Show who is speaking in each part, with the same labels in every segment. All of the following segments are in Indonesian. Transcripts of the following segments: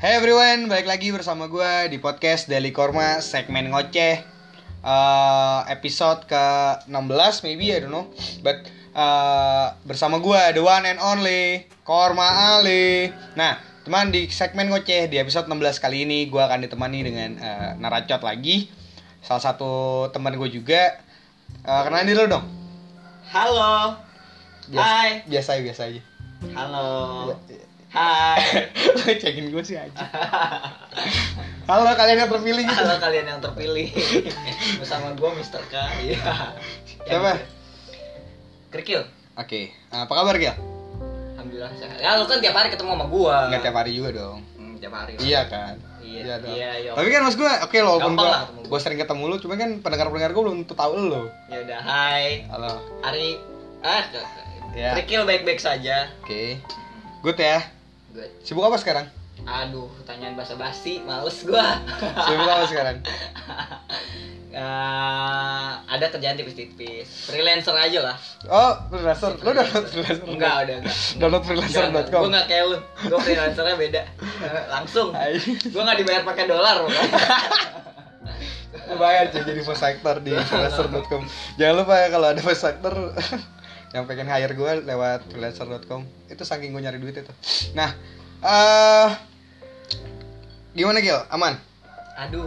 Speaker 1: Hey everyone, balik lagi bersama gue di podcast Deli Korma segmen ngoceh Eh, episode ke 16 maybe I don't know, but eh, bersama gue the one and only Korma Ali. Nah, teman di segmen ngoceh di episode 16 kali ini gue akan ditemani dengan eh, naracot lagi, salah satu teman gue juga. Eh, kenalin dulu dong.
Speaker 2: Halo. Hai. Oh.
Speaker 1: Bias- Biasa aja, biasa aja.
Speaker 2: Halo.
Speaker 1: Ya-
Speaker 2: Hai.
Speaker 1: Lo cekin gue sih aja. Halo kalian yang terpilih gitu.
Speaker 2: Halo kalian yang terpilih. Bersama gua Mr. K. Iya.
Speaker 1: Siapa?
Speaker 2: Kerikil.
Speaker 1: Oke, apa kabar Gil?
Speaker 2: Eh. Alhamdulillah sehat. Ya lu kan tiap hari ketemu sama gua.
Speaker 1: Nggak tiap hari juga dong.
Speaker 2: Hmm, tiap hari.
Speaker 1: Iya kan?
Speaker 2: Iya,
Speaker 1: dong.
Speaker 2: iya, iya.
Speaker 1: Tapi kan maksud gue, oke lo, walaupun
Speaker 2: Gampang
Speaker 1: gue,
Speaker 2: lah ketemu gua.
Speaker 1: gue sering ketemu lo, cuma kan pendengar-pendengar gue belum tuh tahu lo.
Speaker 2: Ya udah, hai.
Speaker 1: Halo.
Speaker 2: Hari ah
Speaker 1: Ya.
Speaker 2: Kerikil baik-baik saja.
Speaker 1: Oke. Good ya.
Speaker 2: Good.
Speaker 1: Sibuk apa sekarang?
Speaker 2: Aduh, pertanyaan basa-basi, males gua.
Speaker 1: Sibuk apa sekarang?
Speaker 2: Eh, ada kerjaan tipis-tipis. Freelancer aja lah.
Speaker 1: Oh, freelancer. Lo download freelancer.
Speaker 2: Enggak, udah enggak.
Speaker 1: Download
Speaker 2: Gue
Speaker 1: freelancer.com.
Speaker 2: gak kayak lu, gue freelancernya beda Eh, Langsung
Speaker 1: Hai.
Speaker 2: Gue gak dibayar pakai dolar
Speaker 1: Lumayan sih jadi voice actor di freelancer.com. Jangan lupa ya kalau ada voice actor yang pengen hire gue lewat freelancer.com. Itu saking gue nyari duit itu. Nah, eh gimana Gil? Aman?
Speaker 2: Aduh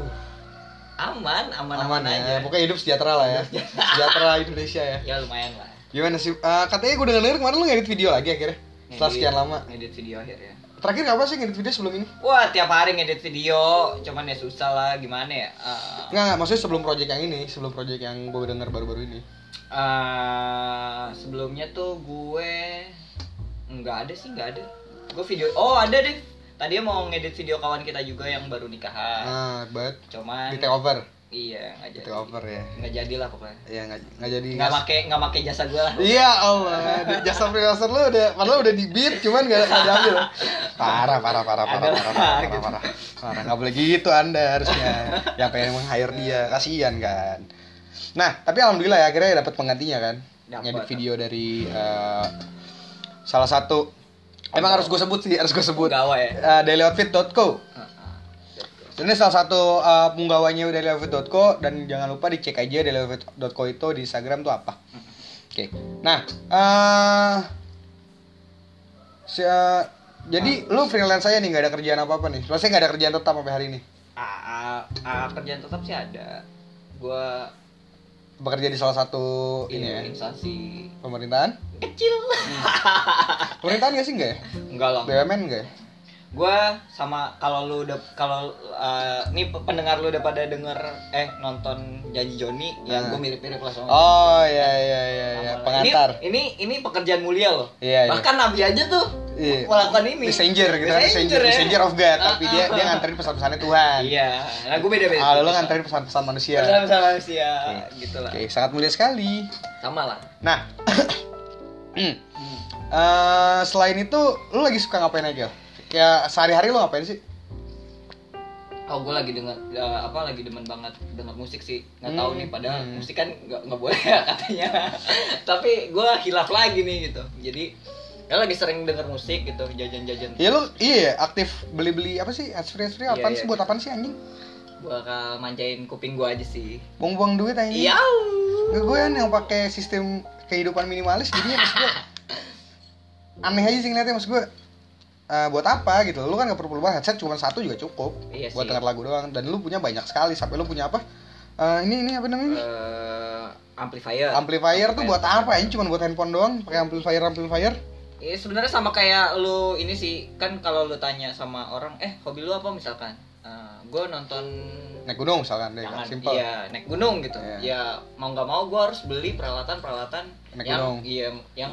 Speaker 2: Aman, aman-aman
Speaker 1: ya.
Speaker 2: aja
Speaker 1: Pokoknya hidup sejahtera lah ya. sejahtera Indonesia ya.
Speaker 2: Ya lumayan lah
Speaker 1: Gimana sih? Eh, katanya gue denger denger kemarin lu ngedit video lagi akhirnya. Setelah sekian lama.
Speaker 2: Ngedit video akhirnya
Speaker 1: Terakhir apa sih ngedit video sebelum ini?
Speaker 2: Wah tiap hari ngedit video Cuman ya susah lah gimana ya Eh,
Speaker 1: Enggak, enggak, maksudnya sebelum project yang ini, sebelum project yang gue denger baru-baru ini.
Speaker 2: eh, Sebelumnya tuh gue Nggak ada sih, nggak ada Gue video, oh ada deh Tadinya mau ngedit video kawan kita juga yang baru nikahan
Speaker 1: Ah, but
Speaker 2: Cuman
Speaker 1: di take over,
Speaker 2: Iya, nggak
Speaker 1: di
Speaker 2: jadi
Speaker 1: take over ya.
Speaker 2: Nggak jadilah pokoknya
Speaker 1: Ya nggak nggak jadi
Speaker 2: nggak pakai nggak pakai jasa gue lah
Speaker 1: Iya Allah, Di- jasa freelancer lu udah, padahal udah di beat, cuman gak, gak diambil. Parah, parah, parah, parah, parah,
Speaker 2: Ada lah,
Speaker 1: parah, parah,
Speaker 2: gitu.
Speaker 1: parah, parah. Gak boleh gitu Anda harusnya. Yang pengen meng-hire dia, kasihan kan. Nah, tapi alhamdulillah ya akhirnya dapat penggantinya kan.
Speaker 2: Dapet.
Speaker 1: Ngedit video dari eh, salah satu. Emang harus gue sebut sih, harus gue sebut.
Speaker 2: Penggawa ya?
Speaker 1: Eh, dailyoutfit.co. Ini salah satu eh, penggawanya dailyoutfit.co dan jangan lupa dicek aja dailyoutfit.co itu di Instagram tuh apa. Oke. Nah, eh si- eh, jadi lu freelance aja nih nggak ada kerjaan apa-apa nih. Maksudnya nggak ada kerjaan tetap sampai hari ini.
Speaker 2: ah, ah, ah, kerjaan tetap sih ada gue
Speaker 1: Bekerja di salah satu ini ya,
Speaker 2: Iya. instansi
Speaker 1: pemerintahan.
Speaker 2: kecil
Speaker 1: Pemerintahan nggak sih nggak ya?
Speaker 2: enggak lah
Speaker 1: BUMN nggak ya?
Speaker 2: gue sama kalau lu udah kalau eh, nih pe- pendengar lu udah pada denger eh nonton janji Joni ya
Speaker 1: Hmm.
Speaker 2: gue mirip mirip lah sama
Speaker 1: Oh iya iya iya iya
Speaker 2: Sama-
Speaker 1: pengantar.
Speaker 2: ini, ini ini pekerjaan mulia loh
Speaker 1: Iya, iya.
Speaker 2: bahkan nabi aja tuh
Speaker 1: Iya.
Speaker 2: melakukan ini
Speaker 1: Messenger gitu kan, messenger,
Speaker 2: ya.
Speaker 1: messenger of God,
Speaker 2: Ah,
Speaker 1: tapi
Speaker 2: ah,
Speaker 1: dia dia
Speaker 2: ah.
Speaker 1: nganterin pesan-pesannya Tuhan.
Speaker 2: iya nah gue beda beda
Speaker 1: Kalau lu nganterin pesan-pesan manusia.
Speaker 2: sama sama manusia
Speaker 1: Oke.
Speaker 2: gitu lah
Speaker 1: Oke, sangat mulia sekali.
Speaker 2: sama lah
Speaker 1: Nah,
Speaker 2: Hmm.
Speaker 1: eh, selain itu, lu lagi suka ngapain aja? Kayak sehari-hari lu ngapain sih?
Speaker 2: Oh gue lagi denger eh, apa lagi demen banget denger musik sih nggak
Speaker 1: Hmm.
Speaker 2: tahu nih padahal
Speaker 1: Hmm.
Speaker 2: musik kan nggak nggak boleh ya katanya tapi gue hilaf lagi nih gitu jadi ya lagi sering denger musik gitu jajan-jajan
Speaker 1: Ya lu iya ya, aktif beli-beli apa sih? Ads-free
Speaker 2: Iya,
Speaker 1: apaan
Speaker 2: iya.
Speaker 1: sih buat apaan sih anjing?
Speaker 2: gue bakal manjain kuping gue aja sih
Speaker 1: Buang-buang duit anjing.
Speaker 2: iya
Speaker 1: Nggak, gue kan yang pakai sistem kehidupan minimalis jadi maksud gue aneh aja sih ngeliatnya maksud gue eh, buat apa gitu lu kan gak perlu banget headset cuma satu juga cukup
Speaker 2: Iya
Speaker 1: buat
Speaker 2: sih.
Speaker 1: denger lagu doang dan lu punya banyak sekali sampai lu punya apa Eh, ini ini apa namanya ini?
Speaker 2: Eh, amplifier
Speaker 1: amplifier tuh buat apa ini cuma buat handphone doang pakai amplifier amplifier
Speaker 2: Iya sebenarnya sama kayak lu ini sih kan kalau lu tanya sama orang eh hobi lu apa misalkan gue nonton
Speaker 1: naik gunung misalkan deh kan,
Speaker 2: jangan
Speaker 1: simple
Speaker 2: iya naik gunung gitu
Speaker 1: Iya.
Speaker 2: ya mau nggak mau gue harus beli peralatan peralatan
Speaker 1: Naik
Speaker 2: yang
Speaker 1: gunung.
Speaker 2: iya yang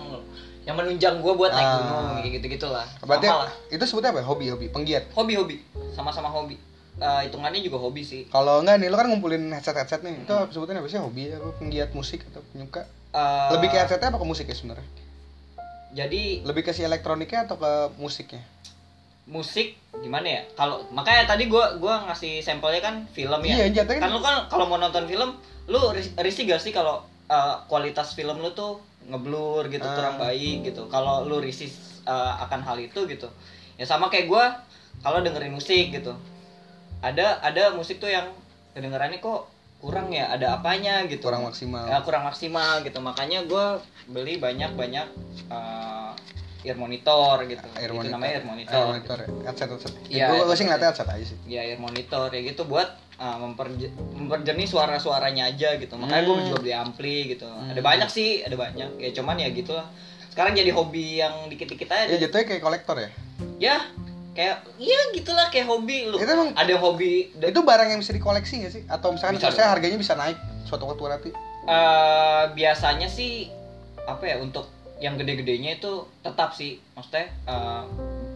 Speaker 2: yang menunjang gue buat naik
Speaker 1: Ah.
Speaker 2: gunung kayak gitu gitulah
Speaker 1: berarti
Speaker 2: sama lah
Speaker 1: itu sebutnya apa ya? hobi hobi penggiat
Speaker 2: hobi hobi sama-sama hobi Eh, hitungannya juga hobi sih
Speaker 1: kalau enggak nih lu kan ngumpulin headset headset nih itu sebutnya apa sih hobi apa penggiat musik atau penyuka
Speaker 2: Hmm. Eh,
Speaker 1: lebih ke headsetnya apa ke musik ya sebenarnya
Speaker 2: jadi
Speaker 1: lebih ke si elektroniknya atau ke musiknya
Speaker 2: musik gimana ya kalau makanya tadi gue gua ngasih sampelnya kan film ya
Speaker 1: Iya, jatuhnya
Speaker 2: kan lu kan kalau mau nonton film lu ris- risih gak sih kalau eh, kualitas film lu tuh ngeblur gitu
Speaker 1: Ah.
Speaker 2: kurang baik gitu kalau lu risih eh, akan hal itu gitu ya sama kayak gua kalau dengerin musik gitu ada ada musik tuh yang kedengerannya kok kurang ya ada apanya gitu
Speaker 1: kurang maksimal
Speaker 2: Ya, kurang maksimal gitu makanya gue beli banyak banyak ear monitor gitu
Speaker 1: air
Speaker 2: itu
Speaker 1: monitor
Speaker 2: namanya ear monitor,
Speaker 1: air monitor ya. headset headset
Speaker 2: Iya,
Speaker 1: ya, gue
Speaker 2: headset.
Speaker 1: sih ngeliatnya headset aja sih
Speaker 2: ya ear monitor ya gitu buat uh, memperje- memperjernih suara-suaranya aja gitu makanya gue
Speaker 1: Hmm.
Speaker 2: juga beli ampli gitu
Speaker 1: Hmm.
Speaker 2: ada banyak sih ada banyak ya cuman ya gitulah sekarang jadi hobi yang dikit-dikit
Speaker 1: ya
Speaker 2: aja
Speaker 1: jatuhnya kayak kolektor ya
Speaker 2: ya kayak iya gitulah kayak hobi lu
Speaker 1: Itu emang-
Speaker 2: ada yang hobi de-
Speaker 1: itu barang yang bisa dikoleksi nggak sih atau misalkan
Speaker 2: Bisa
Speaker 1: harusnya
Speaker 2: dong.
Speaker 1: harganya bisa naik suatu waktu nanti
Speaker 2: eh biasanya sih apa ya untuk yang gede-gedenya itu tetap sih maksudnya eh,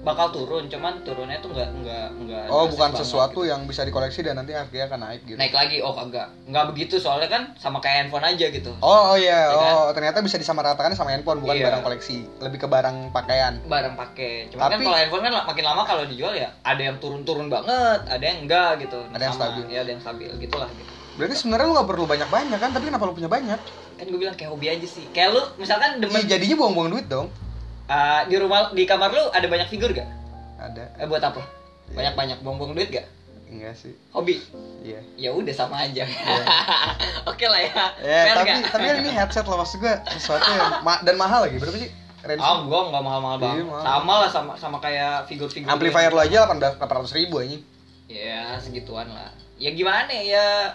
Speaker 2: bakal turun cuman turunnya tuh nggak nggak nggak
Speaker 1: oh
Speaker 2: drastis
Speaker 1: bukan
Speaker 2: banget
Speaker 1: sesuatu
Speaker 2: gitu.
Speaker 1: yang bisa dikoleksi dan nanti harganya akan naik gitu
Speaker 2: naik lagi oh kagak nggak begitu soalnya kan sama kayak handphone aja gitu
Speaker 1: Oh, oh iya,
Speaker 2: Ya kan?
Speaker 1: oh ternyata bisa disamaratakan sama handphone bukan
Speaker 2: Iya.
Speaker 1: barang koleksi, lebih ke barang pakaian.
Speaker 2: barang pakai cuman kan
Speaker 1: Tapi-
Speaker 2: kalau handphone kan makin lama kalau dijual ya ada yang turun-turun banget ada yang enggak gitu
Speaker 1: Ada yang stabil.
Speaker 2: ya ada yang stabil gitulah gitu
Speaker 1: Berarti sebenarnya lu gak perlu banyak-banyak kan, tapi kenapa lu punya banyak?
Speaker 2: kan gue bilang kayak hobi aja sih kayak lu misalkan demen
Speaker 1: Iya, jadinya buang-buang duit dong.
Speaker 2: eh, di rumah di kamar lu ada banyak figur gak
Speaker 1: Ada.
Speaker 2: eh, buat apa banyak-banyak buang-buang duit gak
Speaker 1: Enggak sih.
Speaker 2: hobi
Speaker 1: Iya.
Speaker 2: ya udah sama aja oke lah ya
Speaker 1: Ya,
Speaker 2: Fair
Speaker 1: tapi
Speaker 2: nggak?
Speaker 1: tapi kan ini headset lah maksud gue sesuatu yang ma- dan mahal lagi. Berapa sih? Range
Speaker 2: ah gua nggak mahal-mahal banget
Speaker 1: Iya, mahal.
Speaker 2: sama lah sama sama kayak figur-figur
Speaker 1: amplifier lu aja 18 800 ribu aja.
Speaker 2: ya segituan lah ya gimana ya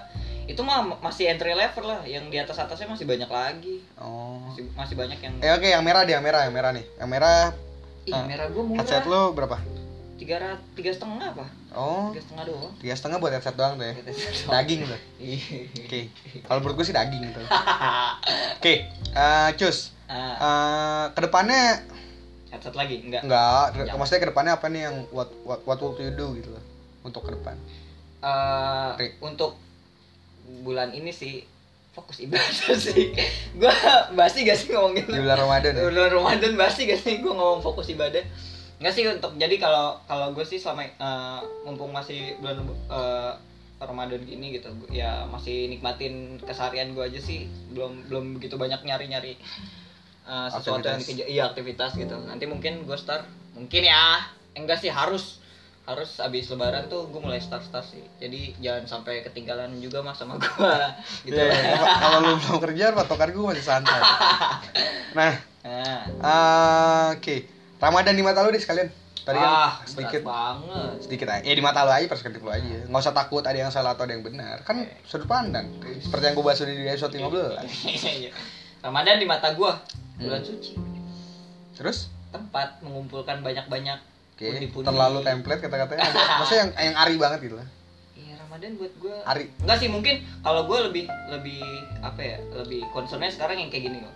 Speaker 2: itu mah masih entry level lah yang di atas atasnya masih banyak lagi
Speaker 1: Oh.
Speaker 2: masih, masih banyak yang
Speaker 1: Eh oke, yang merah deh, yang merah, yang merah nih. Yang merah
Speaker 2: ih
Speaker 1: ah,
Speaker 2: merah gua murah
Speaker 1: headset lu berapa?
Speaker 2: tiga rat- tiga setengah apa
Speaker 1: Oh,
Speaker 2: tiga setengah doang
Speaker 1: tiga setengah buat headset doang tuh ya.
Speaker 2: Hahaha.
Speaker 1: Daging tuh. Oke. Kalau menurut gue sih daging tuh. Oke, eh, cus.
Speaker 2: Ah,
Speaker 1: Eh, kedepannya
Speaker 2: headset lagi enggak
Speaker 1: enggak, ke-
Speaker 2: Jangan.
Speaker 1: maksudnya kedepannya apa nih yang what what what will you do gitu loh untuk ke depan.
Speaker 2: Eh,
Speaker 1: Tri.
Speaker 2: untuk bulan ini sih fokus ibadah sih gue basi gak sih ngomongin
Speaker 1: Di bulan Ramadan ya.
Speaker 2: bulan Ramadan basi gak sih gue ngomong fokus ibadah nggak sih untuk jadi kalau kalau gue sih selama eh, mumpung masih bulan eh, Ramadan gini gitu gua- ya masih nikmatin keseharian gue aja sih belum belum begitu banyak nyari nyari sesuatu yang
Speaker 1: Aktivitas.
Speaker 2: dikejar iya aktivitas gitu nanti mungkin gue start mungkin ya enggak sih harus harus abis lebaran tuh gue mulai start start sih jadi jangan sampai ketinggalan juga mas sama gue gitu
Speaker 1: Iya,
Speaker 2: lah.
Speaker 1: iya. Kalau- Kalau lu belum kerja, patokan gue masih santai. nah,
Speaker 2: Nah.
Speaker 1: eh, oke. Ramadan di mata lu deh sekalian. Tadi kan
Speaker 2: ah, berat
Speaker 1: sedikit
Speaker 2: banget Hmm.
Speaker 1: sedikit aja. Ya di mata lu aja perspektif lu aja. Nggak usah takut ada yang salah atau ada yang benar. Kan sudut pandang. Seperti yang gue bahas di episode 15.
Speaker 2: Iya, Ramadan di mata gua
Speaker 1: Hmm.
Speaker 2: bulan suci
Speaker 1: Terus
Speaker 2: tempat mengumpulkan banyak-banyak
Speaker 1: Oke,
Speaker 2: pundi-pundi.
Speaker 1: terlalu template kata-katanya. Ada, maksudnya yang yang ari banget gitu lah.
Speaker 2: Iya Ramadan buat gua.
Speaker 1: Ari.
Speaker 2: Enggak sih mungkin kalau gua lebih lebih apa ya lebih concernnya sekarang yang kayak gini loh.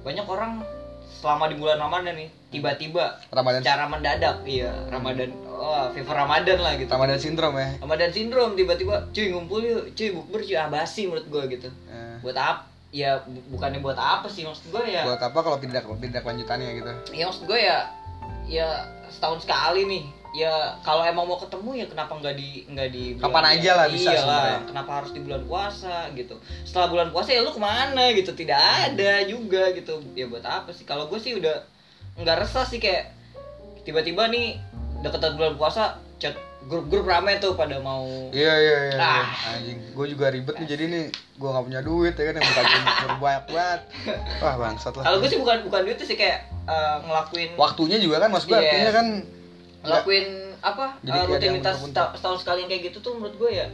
Speaker 2: Banyak orang selama di bulan Ramadan nih tiba-tiba
Speaker 1: Ramadan
Speaker 2: secara mendadak iya Ramadan oh fever Ramadan lah gitu.
Speaker 1: Ramadan sindrom ya.
Speaker 2: Ramadan sindrom tiba-tiba cuy ngumpul yuk, cuy bukber cuy abasi menurut gua gitu.
Speaker 1: Eh,
Speaker 2: Buat apa? Ya bu- bukannya buat apa sih maksud gua ya.
Speaker 1: buat apa kalau tidak tidak lanjutannya gitu.
Speaker 2: ya maksud gue ya ya setahun sekali nih ya kalau emang mau ketemu ya kenapa nggak di nggak di bulan-
Speaker 1: Kapan aja lah bisa
Speaker 2: Iyalah,
Speaker 1: sebenarnya.
Speaker 2: kenapa harus di bulan puasa gitu setelah bulan puasa ya lu kemana gitu tidak
Speaker 1: Hmm.
Speaker 2: ada juga gitu ya buat apa sih kalau gue sih udah nggak resah sih kayak tiba-tiba nih deketan bulan puasa chat grup-grup rame tuh pada mau
Speaker 1: Iya iya iya. iya.
Speaker 2: Ah.
Speaker 1: Anjing, gue juga ribet nih jadi nih gue nggak punya duit ya kan yang buka game banyak banget. Wah bangsat lah.
Speaker 2: kalau gue sih bukan bukan duit sih kayak eh, ngelakuin
Speaker 1: Waktunya juga kan maksud gue
Speaker 2: Iya.
Speaker 1: artinya kan
Speaker 2: ngelakuin apa
Speaker 1: Jadi
Speaker 2: eh,
Speaker 1: kayak ada yang
Speaker 2: rutinitas
Speaker 1: muntah-muntah.
Speaker 2: seta- setahun sekali yang kayak gitu tuh menurut gue ya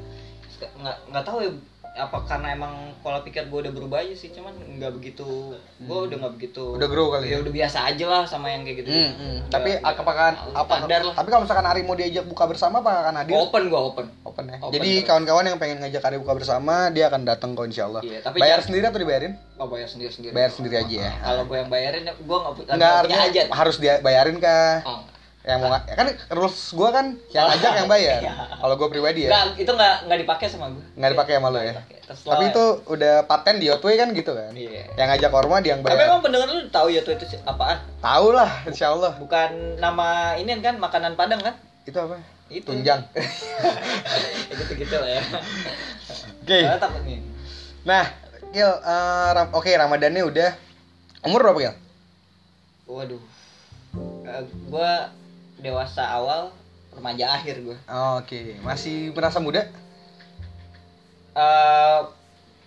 Speaker 2: sek- nggak nggak tahu ya apa karena emang pola pikir gue udah berubah aja sih cuman nggak begitu gue udah nggak begitu
Speaker 1: Hmm. udah grow kali ya.
Speaker 2: ya udah biasa aja lah sama yang kayak gitu
Speaker 1: Hmm, hmm. Tapi apakah apa
Speaker 2: standar lah
Speaker 1: Tapi kalau misalkan Ari mau diajak buka bersama apa akan hadir?
Speaker 2: open gue open
Speaker 1: Open ya.
Speaker 2: Open
Speaker 1: Jadi
Speaker 2: terus.
Speaker 1: kawan-kawan yang pengen ngajak Ari buka bersama dia akan datang kok insya Allah.
Speaker 2: Iya, tapi
Speaker 1: Bayar
Speaker 2: jangan-
Speaker 1: sendiri atau dibayarin?
Speaker 2: oh, bayar sendiri sendiri
Speaker 1: Bayar sendiri aja ya.
Speaker 2: kalau gue yang bayarin gue nggak pu-
Speaker 1: Enggak
Speaker 2: nggak punya
Speaker 1: artinya
Speaker 2: hajat
Speaker 1: harus dia bayarin kah?
Speaker 2: oh.
Speaker 1: yang mau nga- kan rules gua kan yang ngajak yang bayar
Speaker 2: Iya.
Speaker 1: kalau gua pribadi ya
Speaker 2: Nggak, itu nggak nggak dipakai sama gue
Speaker 1: nggak dipakai sama lo ya
Speaker 2: Terserah.
Speaker 1: tapi itu udah paten di Otway kan gitu kan
Speaker 2: Iya.
Speaker 1: yang ngajak korma dia yang
Speaker 2: tapi
Speaker 1: bayar
Speaker 2: emang pendengar lu tahu ya tuh itu si- apaan
Speaker 1: tahu lah insya Allah
Speaker 2: bukan nama ini kan makanan padang kan
Speaker 1: itu apa
Speaker 2: Itu.
Speaker 1: tunjang
Speaker 2: ya gitu gitu lah ya
Speaker 1: oke
Speaker 2: Soalnya takut nih
Speaker 1: nah Gil eh, Ram- oke Ramadannya udah umur berapa Gil
Speaker 2: waduh Eh, gua dewasa awal remaja akhir gue
Speaker 1: Oke, masih merasa muda?
Speaker 2: Eh,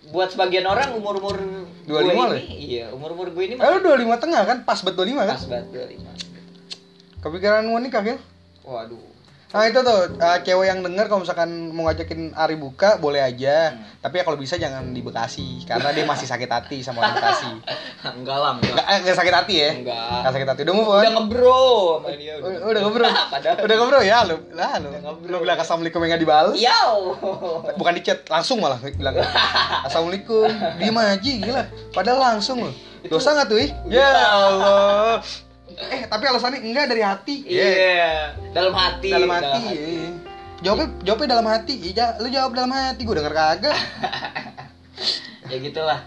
Speaker 2: buat sebagian orang umur umur
Speaker 1: 25
Speaker 2: gue
Speaker 1: lah ya?
Speaker 2: ini iya umur umur gue ini
Speaker 1: Eh, lu 25 tengah kan? Pas banget 25 kan?
Speaker 2: pas banget 25
Speaker 1: Kepikiran mau nikah, Gil?
Speaker 2: gitu. waduh
Speaker 1: Nah itu tuh, eh, cewek yang denger kalau misalkan mau ngajakin Ari buka, boleh aja
Speaker 2: Hmm.
Speaker 1: Tapi ya kalau bisa jangan di Bekasi, karena dia masih sakit hati sama orang Bekasi
Speaker 2: enggak lah enggak
Speaker 1: Nggak, eh, nggak sakit hati ya?
Speaker 2: enggak
Speaker 1: Nggak sakit hati, udah move on?
Speaker 2: udah ngebro sama dia
Speaker 1: Udah, udah ngobrol
Speaker 2: Padahal-
Speaker 1: Udah ngobrol ya lu lah, lu,
Speaker 2: Udah ngobrol. Iya.
Speaker 1: lu bilang Assalamualaikum yang nggak dibales
Speaker 2: Yo.
Speaker 1: Bukan di chat, langsung malah bilang Assalamualaikum, diem aja gila Padahal langsung loh Dosa nggak tuh ih? Ya Allah Eh tapi alasannya enggak dari hati
Speaker 2: Iya. Dalam hati.
Speaker 1: dalam hati, iya. jawabnya jawabnya dalam hati iya lu jawab dalam hati gue denger kagak
Speaker 2: Ya gitulah.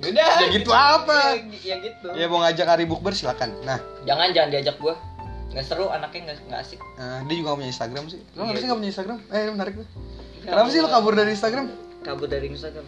Speaker 2: Udah.
Speaker 1: Ya gitu apa?
Speaker 2: Ya, ya gitu.
Speaker 1: ya mau ngajak Ari Bukber silakan nah
Speaker 2: Jangan jangan diajak gua. Nggak seru anaknya nggak nggak asik.
Speaker 1: eh, dia juga gak punya Instagram sih lu
Speaker 2: Iya.
Speaker 1: kenapa sih gak punya Instagram eh ini menarik tuh kenapa sih lu kabur dari Instagram
Speaker 2: Kabur dari Instagram.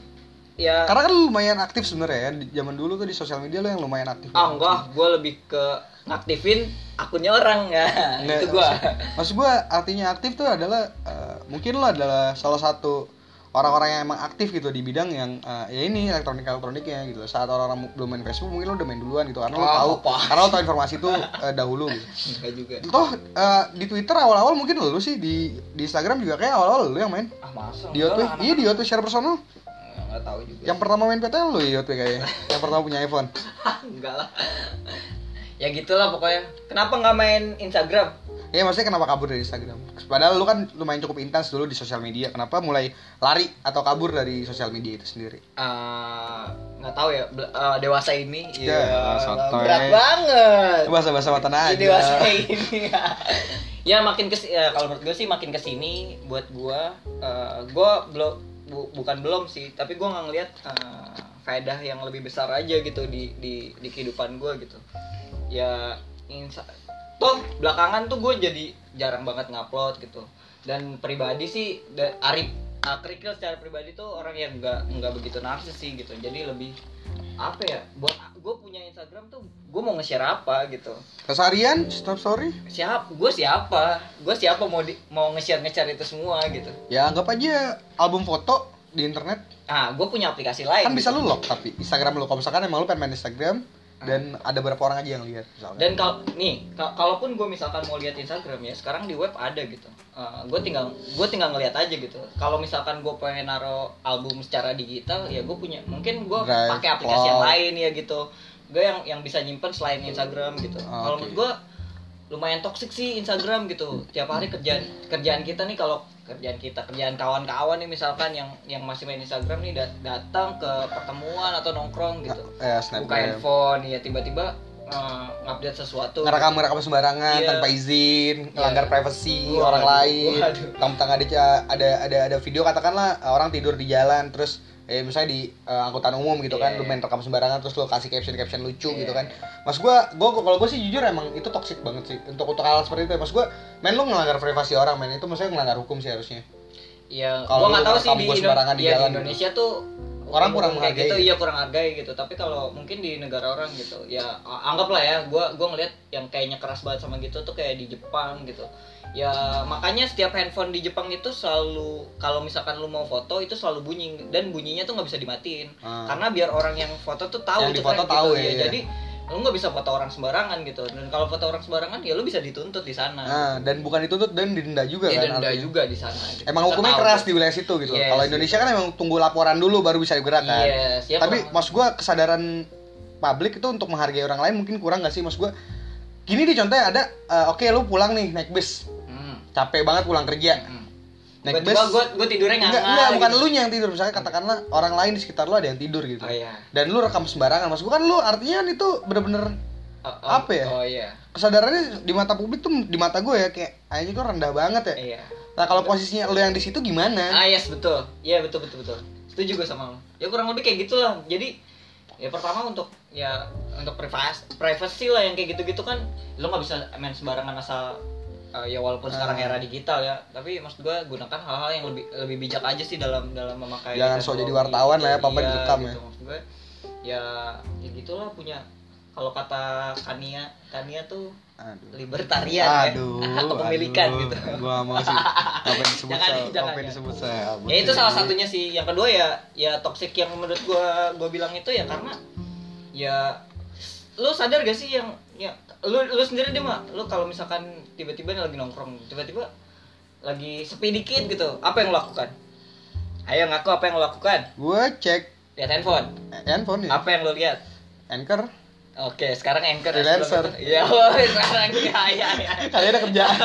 Speaker 2: Ya.
Speaker 1: karena kan lu lumayan aktif sebenarnya ya di zaman dulu tuh di sosial media lu yang lumayan aktif
Speaker 2: Ah enggak, gua lebih ke ngaktifin akunnya orang ya.
Speaker 1: Nggak,
Speaker 2: itu gua.
Speaker 1: maksud- maksud gue artinya aktif tuh adalah eh, mungkin lo adalah salah satu orang-orang yang emang aktif gitu di bidang yang eh, ya ini elektronik elektroniknya gitu saat orang-orang mu- belum main Facebook mungkin lo udah main duluan gitu karena lo
Speaker 2: Ah,
Speaker 1: tahu
Speaker 2: apa?
Speaker 1: karena lo tahu informasi itu eh, dahulu gitu.
Speaker 2: Enggak juga.
Speaker 1: toh eh, di Twitter awal-awal mungkin lo sih di di Instagram juga kayak awal-awal lo yang main
Speaker 2: Ah masa.
Speaker 1: Diot
Speaker 2: enggak
Speaker 1: tuh
Speaker 2: lah, anak-
Speaker 1: iya Diot tuh share personal
Speaker 2: Enggak tahu juga.
Speaker 1: yang pertama main PT lo iya, Diot tuh kayaknya yang pertama punya iPhone
Speaker 2: enggak lah. ya gitulah pokoknya. Kenapa nggak main Instagram?
Speaker 1: Ya maksudnya kenapa kabur dari Instagram? Padahal lu kan lumayan cukup intens dulu di sosial media. Kenapa mulai lari atau kabur dari sosial media itu sendiri?
Speaker 2: Eh, nggak tahu ya bel- eh, dewasa ini
Speaker 1: Ya, sotoy.
Speaker 2: berat banget
Speaker 1: Bahasa bahasa mata
Speaker 2: Di
Speaker 1: aja.
Speaker 2: dewasa ini ya makin kes ya, kalau menurut gue sih makin kesini buat gue eh, gue belum bu- bukan belum sih tapi gue nggak ngeliat eh, faedah yang lebih besar aja gitu di di di kehidupan gue gitu ya insa- toh belakangan tuh gue jadi jarang banget ngupload gitu dan pribadi sih da- Arif uh, Krikil secara pribadi tuh orang yang nggak nggak begitu narsis sih gitu jadi lebih apa ya buat gue punya Instagram tuh gue mau nge-share apa gitu
Speaker 1: Keseharian, stop story.
Speaker 2: siapa gue siapa gue siapa mau di, mau nge-share nge-share itu semua gitu
Speaker 1: Ya anggap aja album foto di internet.
Speaker 2: ah gue punya aplikasi lain
Speaker 1: Kan bisa
Speaker 2: gitu.
Speaker 1: lu lock tapi Instagram lu kalau misalkan emang lu pengen main Instagram dan ada berapa orang aja yang lihat misalnya.
Speaker 2: dan kalau nih ka- kalaupun gue misalkan mau lihat Instagram ya sekarang di web ada gitu gue tinggal gue tinggal ngelihat aja gitu kalau misalkan gue pengen naro album secara digital ya gue punya mungkin gue
Speaker 1: Drive,
Speaker 2: pakai aplikasi yang
Speaker 1: cloud.
Speaker 2: lain ya gitu gue yang yang bisa nyimpen selain Instagram gitu
Speaker 1: Ah, Oke.
Speaker 2: kalau menurut gue lumayan toksik sih Instagram gitu tiap hari kerjaan kerjaan kita nih kalau kerjaan kita kerjaan kawan-kawan nih misalkan yang yang masih main Instagram nih dat- datang ke pertemuan atau nongkrong gitu
Speaker 1: eh,
Speaker 2: buka
Speaker 1: snapgram.
Speaker 2: handphone ya tiba-tiba uh, ngupdate sesuatu
Speaker 1: Ngerekam ngerekam sembarangan
Speaker 2: Iya.
Speaker 1: tanpa izin, melanggar privasi
Speaker 2: Waduh,
Speaker 1: orang lain.
Speaker 2: waduh.
Speaker 1: Tentang ada ca- ada ada ada video katakanlah eh, orang tidur di jalan terus eh misalnya di eh, angkutan umum gitu kan
Speaker 2: Iya,
Speaker 1: lu
Speaker 2: iya.
Speaker 1: main rekam sembarangan terus lu kasih caption-caption lucu
Speaker 2: Iya,
Speaker 1: gitu kan. Mas gua gua gua- kalau gua sih jujur emang itu toxic banget sih untuk untuk hal seperti itu. ya. Mas gua main lu ngelanggar privasi orang men itu maksudnya ngelanggar hukum sih harusnya.
Speaker 2: ya
Speaker 1: Kalau
Speaker 2: gua nggak
Speaker 1: lu
Speaker 2: tahu sih
Speaker 1: rekam
Speaker 2: di,
Speaker 1: gua
Speaker 2: Indo-
Speaker 1: sembarangan di
Speaker 2: ya, di
Speaker 1: jalan gitu.
Speaker 2: Indonesia tuh
Speaker 1: Orang
Speaker 2: hukum
Speaker 1: kurang
Speaker 2: kayak
Speaker 1: menghargai
Speaker 2: gitu
Speaker 1: ya?
Speaker 2: iya kurang hargai gitu tapi kalau mungkin di negara orang gitu ya a- anggaplah ya gua gua ngeliat yang kayaknya keras banget sama gitu tuh kayak di Jepang gitu ya makanya setiap handphone di Jepang itu selalu kalau misalkan lu mau foto itu selalu bunyi dan bunyinya tuh nggak bisa dimatiin
Speaker 1: Ah.
Speaker 2: karena biar orang yang foto tuh tahu
Speaker 1: Yang
Speaker 2: gitu
Speaker 1: difoto
Speaker 2: kan, gitu.
Speaker 1: tahu ya,
Speaker 2: Iya,
Speaker 1: iya.
Speaker 2: jadi lu nggak bisa foto orang sembarangan gitu dan kalau foto orang sembarangan ya lu bisa dituntut di sana
Speaker 1: Nah, dan bukan dituntut dan didenda juga
Speaker 2: ya
Speaker 1: kan.
Speaker 2: denda
Speaker 1: artinya.
Speaker 2: juga di sana gitu.
Speaker 1: Emang hukumnya
Speaker 2: Nggak tahu. Iya
Speaker 1: keras di wilayah situ gitu. loh.
Speaker 2: Yes.
Speaker 1: Kalau Indonesia kan emang tunggu laporan dulu baru bisa digerak kan.
Speaker 2: Yes, ya
Speaker 1: Tapi
Speaker 2: kurang-
Speaker 1: maksud gua kesadaran publik itu untuk menghargai orang lain mungkin kurang gak sih maksud gua? Gini deh contohnya ada eh, oke lu pulang nih naik bus.
Speaker 2: Hmm.
Speaker 1: Capek banget pulang kerja.
Speaker 2: Hmm.
Speaker 1: Naik
Speaker 2: Tiba-tiba
Speaker 1: bus.
Speaker 2: gue gue tidurnya ngangal.
Speaker 1: Enggak, enggak, bukan
Speaker 2: gitu.
Speaker 1: lu yang tidur misalnya katakanlah orang lain di sekitar lu ada yang tidur gitu.
Speaker 2: Oh iya.
Speaker 1: Dan lu rekam sembarangan. Maksud gua kan lu artinya kan itu bener-bener
Speaker 2: Oh, oh,
Speaker 1: Apa ya?
Speaker 2: Oh iya.
Speaker 1: kesadarannya di mata publik tuh di mata gue ya kayak anjing tuh rendah banget ya.
Speaker 2: Iya.
Speaker 1: Nah, kalau posisinya lu yang di situ gimana?
Speaker 2: Ah yes betul. Iya betul betul betul. Setuju gue sama lo. Ya kurang lebih kayak gitulah. Jadi ya pertama untuk ya untuk privasi privacy lah yang kayak gitu-gitu kan lo nggak bisa main sembarangan asal eh, ya walaupun
Speaker 1: Ah.
Speaker 2: sekarang era digital ya tapi maksud gue gunakan hal-hal yang lebih lebih bijak aja sih dalam dalam memakai
Speaker 1: Jangan sok
Speaker 2: teknologi
Speaker 1: jadi wartawan lah ya,
Speaker 2: gitu.
Speaker 1: apa-apa
Speaker 2: Iya,
Speaker 1: direkam ya.
Speaker 2: maksud gue ya ya gitulah punya kalau kata Kania Kania tuh
Speaker 1: Aduh.
Speaker 2: libertarian
Speaker 1: Aduh,
Speaker 2: ya kepemilikan
Speaker 1: aduh.
Speaker 2: gitu
Speaker 1: Gua mau sih. Apa yang disebut
Speaker 2: Jangan,
Speaker 1: saya?
Speaker 2: jangan,
Speaker 1: Apa yang
Speaker 2: ya.
Speaker 1: disebut saya?
Speaker 2: ya itu salah satunya sih yang kedua ya ya toxic yang menurut gua gua bilang itu ya karena ya lu sadar gak sih yang ya lu lu sendiri deh mak lu kalau misalkan tiba-tiba nih lagi nongkrong tiba-tiba lagi sepi dikit gitu apa yang lu lakukan ayo ngaku apa yang lu lakukan
Speaker 1: Gue cek
Speaker 2: lihat handphone
Speaker 1: handphone ya.
Speaker 2: apa yang lu lihat
Speaker 1: Anchor.
Speaker 2: Oke, sekarang anchor ya,
Speaker 1: Freelancer.
Speaker 2: sebelum itu. Iya, woy, sekarang ya, ya, ya.
Speaker 1: Kalian ada kerjaan.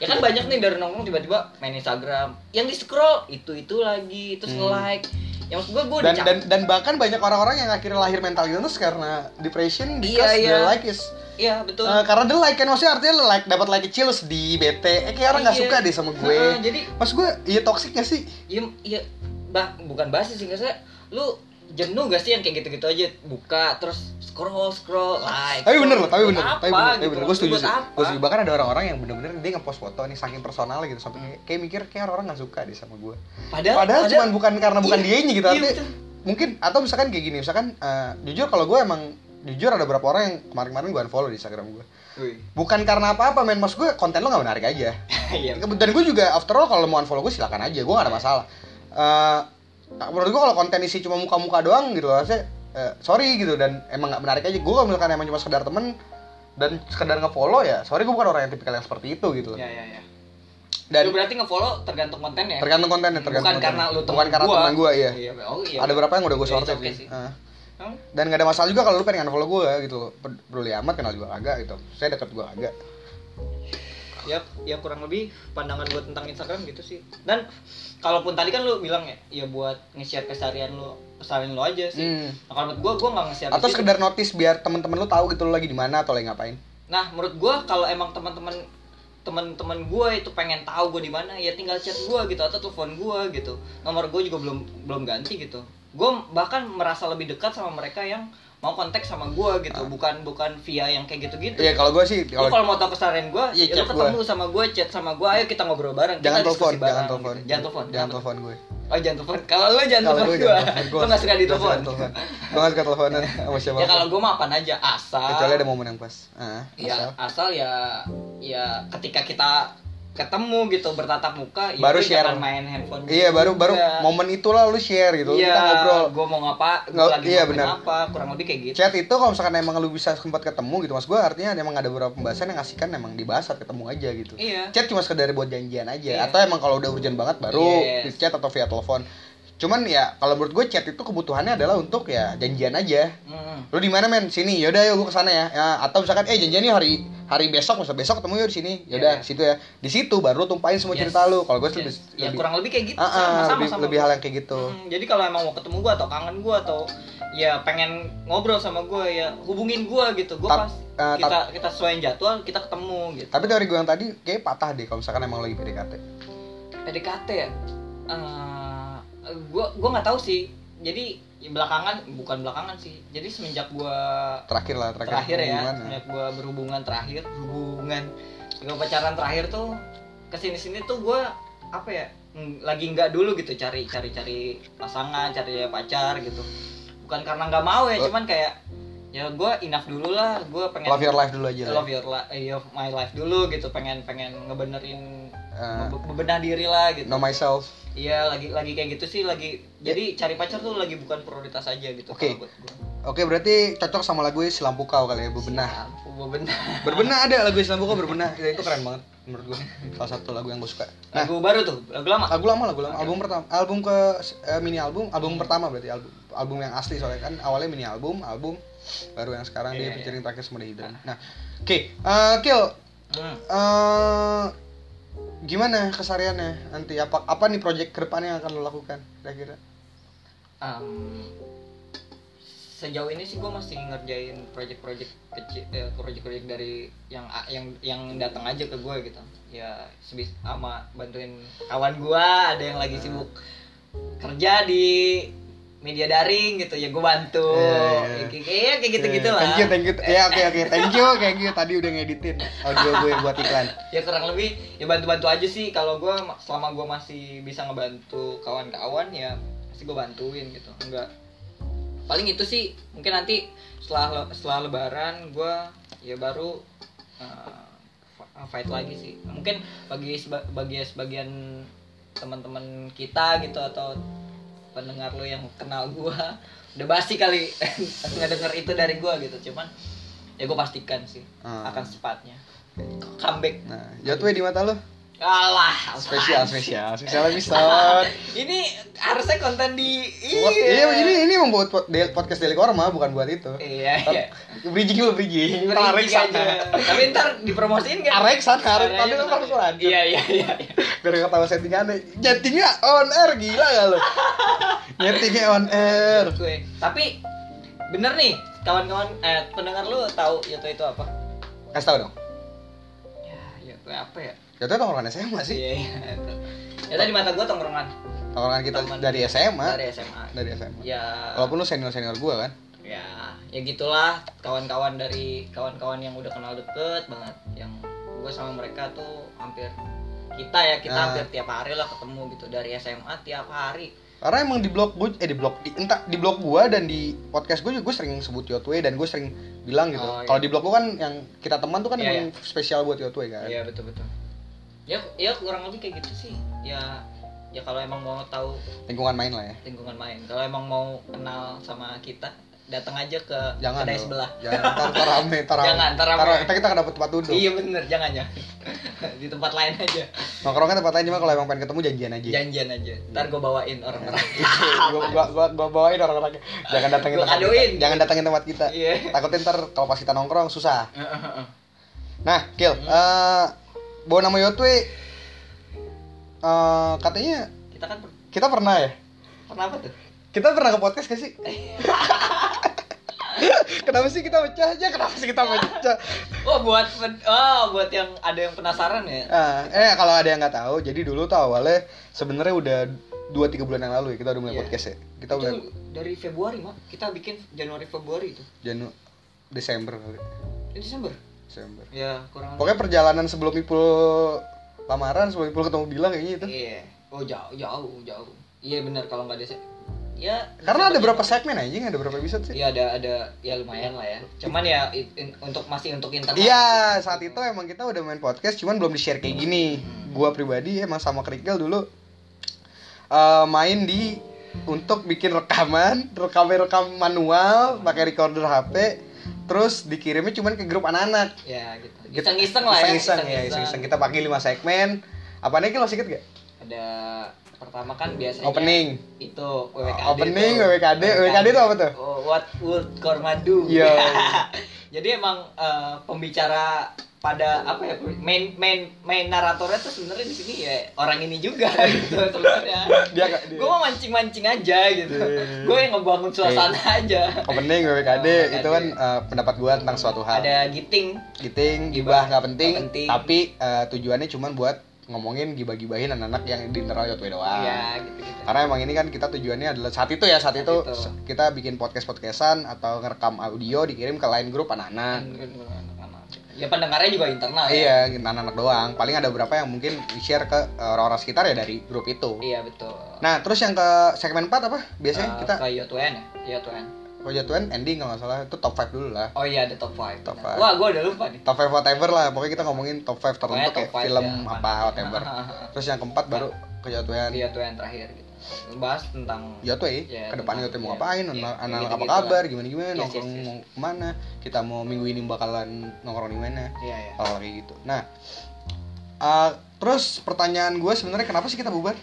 Speaker 2: ya kan banyak nih dari nongkrong tiba-tiba main Instagram, yang di scroll itu itu lagi, terus
Speaker 1: Hmm.
Speaker 2: like. Yang maksud gue gue
Speaker 1: dan dan dan bahkan banyak orang-orang yang akhirnya lahir mental illness karena depression because
Speaker 2: Iya, iya.
Speaker 1: they like is
Speaker 2: Iya betul.
Speaker 1: Eh, karena dia like kan maksudnya artinya lu like dapat like kecil terus di bete eh kayak orang nggak
Speaker 2: Iya.
Speaker 1: suka deh sama gue
Speaker 2: Heeh, jadi
Speaker 1: mas gue iya toxic gak sih
Speaker 2: ya, ya bah, bukan basi sih nggak lu jenuh gak sih yang kayak gitu-gitu aja buka terus scroll scroll like.
Speaker 1: tapi bener loh tapi
Speaker 2: Buat
Speaker 1: bener
Speaker 2: apa
Speaker 1: tapi bener, tapi
Speaker 2: gitu,
Speaker 1: bener. gue
Speaker 2: maksud
Speaker 1: setuju
Speaker 2: buat
Speaker 1: sih
Speaker 2: apa?
Speaker 1: gue setuju bahkan ada orang-orang yang bener-bener dia ngepost foto nih saking personal gitu sampai kayak, kayak mikir kayak orang-orang nggak suka deh sama gue
Speaker 2: Ya, Padahal,
Speaker 1: padahal cuman bukan karena bukan
Speaker 2: Iya,
Speaker 1: dianya gitu
Speaker 2: iya,
Speaker 1: artinya
Speaker 2: betul.
Speaker 1: mungkin atau misalkan kayak gini misalkan eh, jujur kalau gue emang jujur ada beberapa orang yang kemarin-kemarin gue unfollow di instagram gue
Speaker 2: Wih.
Speaker 1: bukan karena apa-apa men mas gue konten lo gak menarik aja
Speaker 2: Iya.
Speaker 1: dan gue juga after all kalau mau unfollow gue silakan aja gue gak ada masalah Eh, menurut gue kalau konten isi cuma muka-muka doang gitu loh rasanya eh, sorry gitu dan emang gak menarik aja gue kalau misalkan emang cuma sekedar temen dan sekedar ngefollow ya sorry gue bukan orang yang tipikal yang seperti itu gitu loh
Speaker 2: Ya ya ya.
Speaker 1: dan
Speaker 2: lu berarti ngefollow tergantung kontennya.
Speaker 1: tergantung kontennya tergantung
Speaker 2: bukan
Speaker 1: kontennya.
Speaker 2: karena lu teman
Speaker 1: bukan karena
Speaker 2: gua.
Speaker 1: teman gue iya
Speaker 2: Iya, oh iya.
Speaker 1: ada berapa yang udah gue
Speaker 2: Iya,
Speaker 1: sortir
Speaker 2: it's okay
Speaker 1: sih.
Speaker 2: sih.
Speaker 1: Eh.
Speaker 2: Hmm?
Speaker 1: dan gak ada masalah juga kalau lu pengen unfollow gue gitu loh. peduli amat kenal juga agak gitu saya deket gue agak
Speaker 2: ya ya kurang lebih pandangan gue tentang Instagram gitu sih dan kalaupun tadi kan lu bilang ya ya buat nge-share keseharian lu keseharian lu aja sih
Speaker 1: Hmm.
Speaker 2: nah, kalau menurut gue gue nggak nge-share di
Speaker 1: atau
Speaker 2: situ.
Speaker 1: sekedar notice biar temen-temen lu tahu gitu lu lagi di mana atau lagi ngapain
Speaker 2: nah menurut gue kalau emang teman-teman teman-teman gue itu pengen tahu gue di mana ya tinggal chat gue gitu atau telepon gue gitu nomor gue juga belum belum ganti gitu gue bahkan merasa lebih dekat sama mereka yang mau kontak sama gue gitu bukan bukan via yang kayak gitu-gitu
Speaker 1: Ah. Iya kalau gue sih
Speaker 2: Gitu. Lu
Speaker 1: kalau
Speaker 2: kalau mau tau keseharian gue,
Speaker 1: Iya,
Speaker 2: ya lu
Speaker 1: chat
Speaker 2: ketemu sama gue, chat sama gue, ayo kita ngobrol bareng.
Speaker 1: jangan
Speaker 2: kita
Speaker 1: telepon,
Speaker 2: diskusi bareng,
Speaker 1: jangan telepon,
Speaker 2: gitu. Jangan telepon.
Speaker 1: jangan
Speaker 2: kenapa?
Speaker 1: telepon gue.
Speaker 2: Oh, jangan telepon. Kalau lu jangan
Speaker 1: Kalau
Speaker 2: telepon
Speaker 1: gue
Speaker 2: gue,
Speaker 1: jangan telepon,
Speaker 2: lu nggak suka ditelepon.
Speaker 1: Gue nggak suka teleponan sama siapa.
Speaker 2: Ya kalau gue mah apaan aja, asal.
Speaker 1: kecuali ada momen yang pas. Ah,
Speaker 2: Ya,
Speaker 1: asal.
Speaker 2: asal ya, ya ketika kita ketemu gitu bertatap muka, ya
Speaker 1: Baru
Speaker 2: lu
Speaker 1: share.
Speaker 2: jangan main handphone.
Speaker 1: Iya baru baru
Speaker 2: juga.
Speaker 1: momen itulah lu share gitu,
Speaker 2: Iya,
Speaker 1: kita ngobrol.
Speaker 2: Gue mau ngapa? Gue
Speaker 1: Nggak-
Speaker 2: lagi
Speaker 1: iya,
Speaker 2: ngapain
Speaker 1: benar.
Speaker 2: apa? Kurang lebih kayak gitu.
Speaker 1: Chat itu kalau misalkan emang lu bisa sempat ketemu gitu mas gue artinya emang ada beberapa pembahasan yang asikan emang dibahas saat ketemu aja gitu.
Speaker 2: Iya.
Speaker 1: Chat cuma sekedar buat janjian aja
Speaker 2: Iya.
Speaker 1: atau emang kalau udah urgent banget baru di
Speaker 2: Yes.
Speaker 1: chat atau via telepon. Cuman ya kalau menurut gue chat itu kebutuhannya adalah untuk ya janjian aja.
Speaker 2: Hmm.
Speaker 1: lu di mana men sini yaudah yuk gue kesana ya. ya atau misalkan eh janjian nih hari hari besok masa besok ketemu yuk di sini yaudah
Speaker 2: Iya.
Speaker 1: situ ya di situ baru lu tumpain semua
Speaker 2: Yes.
Speaker 1: cerita lu kalau gue sih
Speaker 2: Yes.
Speaker 1: lebih
Speaker 2: ya
Speaker 1: lebih-
Speaker 2: kurang lebih kayak gitu
Speaker 1: Ah, ah,
Speaker 2: sama sama
Speaker 1: lebih,
Speaker 2: sama
Speaker 1: lebih hal yang kayak gitu
Speaker 2: Mm, jadi kalau emang mau ketemu gue atau kangen gue atau ya pengen ngobrol sama gue ya hubungin gue gitu gue
Speaker 1: Tap-
Speaker 2: pas
Speaker 1: eh,
Speaker 2: kita kita sesuaiin jadwal kita ketemu gitu
Speaker 1: tapi teori gue yang tadi kayak patah deh kalau misalkan emang lagi PDKT
Speaker 2: PDKT ya gue gue nggak tahu sih jadi ya belakangan bukan belakangan sih jadi semenjak gue
Speaker 1: terakhir lah terakhir,
Speaker 2: terakhir ya
Speaker 1: hubungan
Speaker 2: semenjak gue berhubungan terakhir hubungan gue pacaran terakhir tuh kesini sini tuh gue apa ya ng- lagi nggak dulu gitu cari cari cari pasangan cari pacar gitu bukan karena nggak mau ya
Speaker 1: Eh.
Speaker 2: cuman kayak ya gue enough dulu lah gue pengen
Speaker 1: love your life gitu ya? dulu aja lah
Speaker 2: love your li- eh, your- my life dulu gitu pengen pengen ngebenerin
Speaker 1: Eh.
Speaker 2: be- bebenah diri lah gitu
Speaker 1: know myself
Speaker 2: iya lagi lagi kayak gitu sih lagi jadi cari pacar tuh lagi bukan prioritas aja
Speaker 1: Ya.
Speaker 2: gitu
Speaker 1: Oke.
Speaker 2: kalau buat gua.
Speaker 1: oke berarti cocok sama lagu Silam Pukau kali ya bebenah
Speaker 2: Siap, bebenah
Speaker 1: berbenah ada lagu Silam Pukau berbenah Ya, itu keren banget menurut gue salah satu lagu yang gue suka nah
Speaker 2: lagu baru tuh lagu lama
Speaker 1: lagu lama lagu lama album pertama album ke eh, mini album album pertama berarti album album yang asli soalnya kan awalnya mini album album baru yang sekarang
Speaker 2: Iya,
Speaker 1: dia
Speaker 2: iya.
Speaker 1: featuring terakhir sama The Hidden nah oke eh, Kil
Speaker 2: Hmm.
Speaker 1: eh, gimana kesariannya nanti apa apa nih project kedepannya yang akan lo lakukan kira-kira
Speaker 2: Em, sejauh ini sih gue masih ngerjain project-project kecil eh, project-project dari yang yang yang datang aja ke gue gitu ya sebis sama bantuin kawan gue ada yang
Speaker 1: Hmm.
Speaker 2: lagi sibuk kerja di media daring gitu ya gue bantu
Speaker 1: Iya, iya.
Speaker 2: ya, kayak- kayak kayak gitu gitu
Speaker 1: Eh,
Speaker 2: lah
Speaker 1: thank you thank you ya oke oke thank you thank you tadi udah ngeditin audio gue buat iklan
Speaker 2: ya kurang lebih ya bantu-bantu aja sih kalau gue selama gue masih bisa ngebantu kawan-kawan ya pasti gue bantuin gitu enggak paling itu sih mungkin nanti setelah le- setelah lebaran gua ya baru eh, fa- fight lagi sih mungkin bagi seba- bagi sebagian teman-teman kita gitu atau pendengar lo yang kenal gua udah basi kali ngedenger itu dari gua gitu cuman ya gue pastikan sih
Speaker 1: Hmm.
Speaker 2: akan secepatnya comeback
Speaker 1: Nah, jatuh di mata lo.
Speaker 2: Alah, apaan
Speaker 1: Spesial,
Speaker 2: sih?
Speaker 1: spesial, spesial episode.
Speaker 2: ini harusnya konten di
Speaker 1: Buat- Iya, ini ini membuat pod- del- podcast Delik Orma bukan buat itu.
Speaker 2: Iya, iya.
Speaker 1: Bridging dulu, bridging. Tarik
Speaker 2: Berhenti aja.
Speaker 1: sana.
Speaker 2: Tapi ntar dipromosiin kan?
Speaker 1: Tarik sana, tarik.
Speaker 2: Caranya
Speaker 1: Tapi lo
Speaker 2: ntar-
Speaker 1: harus lanjut.
Speaker 2: Iya, iya, iya. iya.
Speaker 1: Biar gak tau settingannya. Nyetingnya on air, gila gak lo? Nyetingnya on air.
Speaker 2: Gue. Tapi bener nih, kawan-kawan eh pendengar lu tahu Yoto itu apa?
Speaker 1: Kasih tau dong.
Speaker 2: Ya, Yoto apa ya?
Speaker 1: Jatuh tongkrongan SMA sih.
Speaker 2: Iya, iya. Yoto. Yoto di mata gua tongkrongan
Speaker 1: Tongkrongan kita
Speaker 2: Teman.
Speaker 1: dari SMA.
Speaker 2: dari SMA.
Speaker 1: Dari SMA.
Speaker 2: Ya.
Speaker 1: Walaupun lu senior-senior gua kan.
Speaker 2: ya ya gitulah kawan-kawan dari kawan-kawan yang udah kenal deket banget yang gue sama mereka tuh hampir kita ya kita
Speaker 1: Ah.
Speaker 2: hampir tiap hari lah ketemu gitu dari SMA tiap hari
Speaker 1: Karena emang di blog gue, eh di blog, di, entah di blog gue dan di podcast gue juga gue sering sebut Yotway dan gue sering bilang gitu.
Speaker 2: Oh, iya.
Speaker 1: Kalau di blog gue kan yang kita teman tuh kan
Speaker 2: Iya,
Speaker 1: emang spesial buat Yotway kan.
Speaker 2: iya betul betul ya ya kurang lebih kayak gitu sih ya ya kalau emang mau tahu
Speaker 1: Lingkungan main lah ya.
Speaker 2: lingkungan main kalau emang mau kenal sama kita datang aja ke
Speaker 1: Jangan.
Speaker 2: kedai
Speaker 1: dong.
Speaker 2: sebelah
Speaker 1: Jangan ntar, ntar rame, ntar rame.
Speaker 2: Jangan, ntar rame.
Speaker 1: Kita kita nggak dapet tempat duduk.
Speaker 2: iya bener jangan ya di tempat lain aja
Speaker 1: Nongkrongnya tempat lain cuma kalau emang pengen ketemu janjian aja. Iya,
Speaker 2: janjian aja ntar gue bawain orang orang
Speaker 1: gua, gua, gua, gua bawain orang-orang jangan datangin
Speaker 2: Gua
Speaker 1: tempat
Speaker 2: kadoin.
Speaker 1: kita. jangan datangin tempat kita
Speaker 2: Iya.
Speaker 1: takutnya ntar kalau pas kita nongkrong susah nah Kil
Speaker 2: Hmm.
Speaker 1: eh bawa nama Yotwe eh katanya
Speaker 2: kita kan per-
Speaker 1: kita pernah ya
Speaker 2: pernah apa tuh
Speaker 1: kita pernah ke podcast gak sih
Speaker 2: Iya.
Speaker 1: kenapa sih kita pecah aja kenapa sih kita pecah
Speaker 2: Oh buat pen- oh buat yang ada yang penasaran ya.
Speaker 1: Ah, eh kalau ada yang nggak tahu jadi dulu tuh awalnya sebenarnya udah dua tiga bulan yang lalu ya kita udah mulai
Speaker 2: Iya.
Speaker 1: podcast ya kita
Speaker 2: Itu
Speaker 1: udah
Speaker 2: dari Februari mak kita bikin Januari Februari itu.
Speaker 1: Janu Desember kali
Speaker 2: Itu Desember.
Speaker 1: Desember
Speaker 2: Ya kurang.
Speaker 1: Pokoknya perjalanan sebelum Ipul lamaran, sebelum Ipul ketemu Bila kayaknya itu.
Speaker 2: Iya. Oh jauh jauh jauh. Iya benar kalau nggak ada Ya.
Speaker 1: Karena ada
Speaker 2: Desember-
Speaker 1: berapa segmen aja, ada berapa episode sih?
Speaker 2: Iya ada ada ya lumayan lah ya. Cuman ya it- in- untuk masih untuk internet.
Speaker 1: Iya, saat itu emang kita udah main podcast, cuman belum di-share kayak gini.
Speaker 2: Hmm.
Speaker 1: Gua pribadi emang sama Kerikil dulu eh, main di untuk bikin rekaman, rekamnya rekam manual, pakai recorder HP, terus dikirimnya cuman ke grup anak-anak.
Speaker 2: Ya gitu.
Speaker 1: Kita-
Speaker 2: Iseng-iseng lah ya.
Speaker 1: Iseng-iseng ya, iseng-iseng. Kita pakai 5 segmen. Apanya Kil masih inget gak?
Speaker 2: Ada pertama kan biasanya
Speaker 1: Opening.
Speaker 2: itu WWKD
Speaker 1: Ah, Opening,
Speaker 2: tuh.
Speaker 1: WWKD. WWKD itu apa tuh?
Speaker 2: Oh, what would Korma do?
Speaker 1: Iya.
Speaker 2: Jadi emang eh, pembicara pada apa ya main main main naratornya tuh sebenarnya di sini ya orang ini juga gitu sebenarnya.
Speaker 1: Dia nggak- dia-
Speaker 2: Gue mau mancing-mancing aja gitu.
Speaker 1: Iya.
Speaker 2: Gue yang ngebangun suasana aja.
Speaker 1: opening WWKD
Speaker 2: Oh,
Speaker 1: itu kan eh, pendapat gua tentang suatu hal
Speaker 2: Ada giting.
Speaker 1: giting gibah
Speaker 2: Gibah,
Speaker 1: nggak penting,
Speaker 2: nggak penting.
Speaker 1: tapi eh, tujuannya cuman buat ngomongin gibah-gibahin anak-anak yang di internal Yotwe doang
Speaker 2: Iya, gitu-gitu.
Speaker 1: karena emang ini kan kita tujuannya adalah saat itu ya saat,
Speaker 2: Saat
Speaker 1: itu,
Speaker 2: itu.
Speaker 1: se- kita bikin podcast podcastan atau ngerekam audio dikirim ke lain grup anak-anak
Speaker 2: Ya pendengarnya juga internal. ya.
Speaker 1: iya anak-anak doang paling ada beberapa yang mungkin di share ke eh, orang-orang sekitar ya dari grup itu
Speaker 2: Iya betul.
Speaker 1: nah terus yang ke segmen 4 apa biasanya
Speaker 2: Eh,
Speaker 1: kita
Speaker 2: ke Yotuen ya, Yotuen.
Speaker 1: kalau jatuhan ending kalau nggak salah itu top 5 dulu lah
Speaker 2: Oh iya ada top 5.
Speaker 1: Top five.
Speaker 2: Wah, gue udah lupa nih.
Speaker 1: top 5 whatever lah pokoknya kita ngomongin top 5 tertentu
Speaker 2: Pokoknya top
Speaker 1: kayak
Speaker 2: five
Speaker 1: film
Speaker 2: ya, mana.
Speaker 1: apa whatever terus yang keempat baru kejatuhan
Speaker 2: Iya tuh yang terakhir gitu. Bahas tentang
Speaker 1: Yotwe,
Speaker 2: Iya,
Speaker 1: ke depannya Yotwe mau
Speaker 2: iya.
Speaker 1: ngapain,
Speaker 2: Iya,
Speaker 1: anak
Speaker 2: kayak
Speaker 1: anak apa
Speaker 2: gitu-gitu
Speaker 1: kabar,
Speaker 2: lah. Iya,
Speaker 1: gimana-gimana,
Speaker 2: Yes,
Speaker 1: nongkrong
Speaker 2: yes, yes.
Speaker 1: mau kemana, kita mau minggu ini bakalan nongkrong di mana,
Speaker 2: Iya ya.
Speaker 1: hal kayak gitu. Nah, eh, terus pertanyaan gue sebenarnya kenapa sih kita bubar?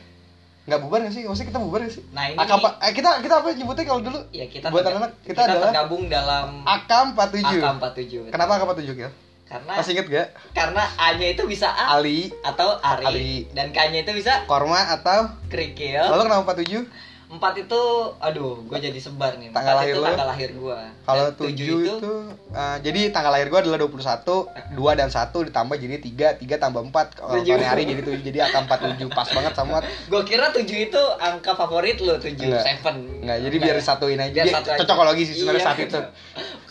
Speaker 1: Nggak bubar nggak sih? Maksudnya kita bubar nggak sih?
Speaker 2: Nah, ini-
Speaker 1: Akapa- eh, kita kita apa nyebutnya kalau dulu?
Speaker 2: Iya kita
Speaker 1: Buat
Speaker 2: terga-
Speaker 1: anak-anak, kita
Speaker 2: kita
Speaker 1: adalah-
Speaker 2: tergabung dalam
Speaker 1: Akam 47.
Speaker 2: AK47. betul.
Speaker 1: Kenapa Akam 47 Kil?
Speaker 2: gitu. Karena
Speaker 1: Masih inget gak?
Speaker 2: karena A-nya itu bisa A
Speaker 1: Ali,
Speaker 2: atau Ari,
Speaker 1: Ari.
Speaker 2: dan K-nya itu bisa
Speaker 1: Korma atau
Speaker 2: Krikil.
Speaker 1: Lalu kenapa 47?
Speaker 2: Empat itu aduh, gue jadi sebar nih. Empat
Speaker 1: Tanggal lahir
Speaker 2: itu
Speaker 1: lu?
Speaker 2: tanggal lahir gue.
Speaker 1: Kalau 7 itu, eh, jadi tanggal lahir gua adalah 21, 2 dan 1 ditambah jadi 3, 3 tambah 4. Kalau
Speaker 2: Tujuh.
Speaker 1: hari hari jadi 7, jadi angka 47 pas banget sama
Speaker 2: gue kira tujuh itu angka favorit lo tujuh
Speaker 1: Enggak.
Speaker 2: seven.
Speaker 1: Enggak, jadi biar disatuin aja.
Speaker 2: ya? Biar
Speaker 1: Dia
Speaker 2: satu aja.
Speaker 1: cocokologi sih sebenarnya
Speaker 2: Iya,
Speaker 1: saat itu.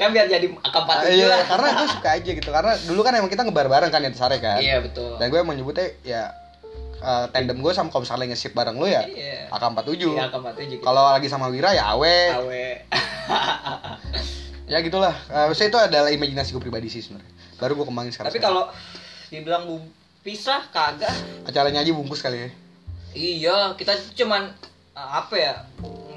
Speaker 2: Kan biar jadi AK47
Speaker 1: Ah, iya,
Speaker 2: lah.
Speaker 1: karena gue suka aja gitu. Karena dulu kan emang kita ngebar bareng kan ya Sare kan.
Speaker 2: Iya betul.
Speaker 1: Dan gue emang nyebutnya ya eh, tandem gue sama kalau misalnya nge-shift bareng lu ya
Speaker 2: Iya.
Speaker 1: AK47
Speaker 2: Iya, keempat tujuh.
Speaker 1: kalau lagi sama Wira ya awe
Speaker 2: awe.
Speaker 1: ya gitulah Eh, saya itu adalah imajinasi gue pribadi sih sebenarnya baru gue kembangin sekarang
Speaker 2: Tapi kalau dibilang bu pisah kagak.
Speaker 1: acaranya aja bungkus kali ya
Speaker 2: Iya, kita cuman eh, apa ya?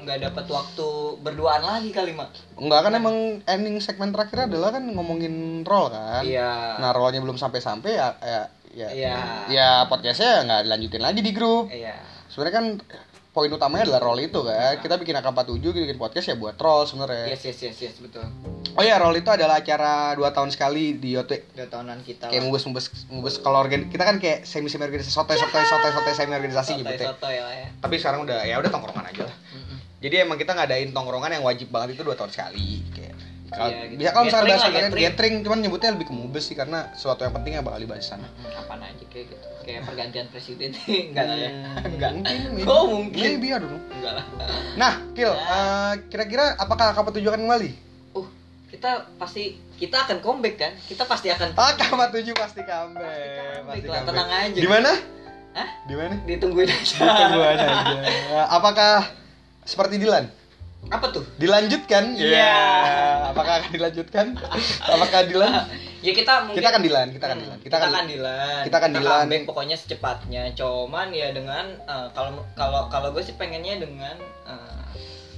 Speaker 2: nggak dapat waktu berduaan lagi kali, Mak.
Speaker 1: Enggak kan emang ending segmen terakhir adalah kan ngomongin roll kan
Speaker 2: Iya.
Speaker 1: nah rollnya belum sampai-sampai ya ya ya,
Speaker 2: Iya.
Speaker 1: ya podcastnya nggak dilanjutin lagi di grup
Speaker 2: Iya.
Speaker 1: sebenarnya kan poin utamanya adalah roll itu kan kita bikin AK47 kita bikin podcast ya buat roll sebenarnya
Speaker 2: Yes, yes, yes, yes, betul.
Speaker 1: oh ya roll itu adalah acara dua tahun sekali di YOT
Speaker 2: Udah tahunan kita.
Speaker 1: kayak mubes mubes mubes kalau organ kita kan kayak semi semi organisasi sotoy sotoy sotoy sotoy semi organisasi gitu ya.
Speaker 2: Soto ya lah ya.
Speaker 1: tapi sekarang udah ya udah tongkrongan aja lah
Speaker 2: Mm-mm.
Speaker 1: jadi emang kita ngadain tongkrongan yang wajib banget itu dua tahun sekali kayak kalau
Speaker 2: Iya, gitu.
Speaker 1: bisa kalau misalnya
Speaker 2: Gathering
Speaker 1: bahasa
Speaker 2: lah,
Speaker 1: kalian
Speaker 2: gathering.
Speaker 1: gathering cuman nyebutnya lebih ke mubes sih karena sesuatu yang penting yang bakal dibahas di sana
Speaker 2: Mm, Apaan aja kayak gitu. Kayak pergantian presiden enggak lah ya.
Speaker 1: Hmm.
Speaker 2: Enggak.
Speaker 1: mungkin maybe.
Speaker 2: Oh, mungkin.
Speaker 1: maybe I don't know.
Speaker 2: Enggak lah.
Speaker 1: nah Kil
Speaker 2: Ya.
Speaker 1: eh, kira-kira apakah KP7 akan kembali
Speaker 2: Uh, kita pasti kita akan comeback kan? Kita pasti akan
Speaker 1: Ah, kamar tujuh pasti kambe.
Speaker 2: Pasti comeback lah, tenang aja.
Speaker 1: Di mana?
Speaker 2: Hah?
Speaker 1: Di mana?
Speaker 2: Ditungguin aja.
Speaker 1: Tunggu aja. Apakah seperti Dilan?
Speaker 2: Apa tuh?
Speaker 1: Dilanjutkan?
Speaker 2: Iya.
Speaker 1: Apakah akan dilanjutkan? Apakah Dilan?
Speaker 2: Ya kita mungkin
Speaker 1: Kita akan Dilan, kita akan
Speaker 2: Hmm,
Speaker 1: Dilan.
Speaker 2: Kita, akan dilan.
Speaker 1: kita akan dilan.
Speaker 2: comeback pokoknya secepatnya. Cuman ya dengan eh, kalau kalau kalau gue sih pengennya dengan eh,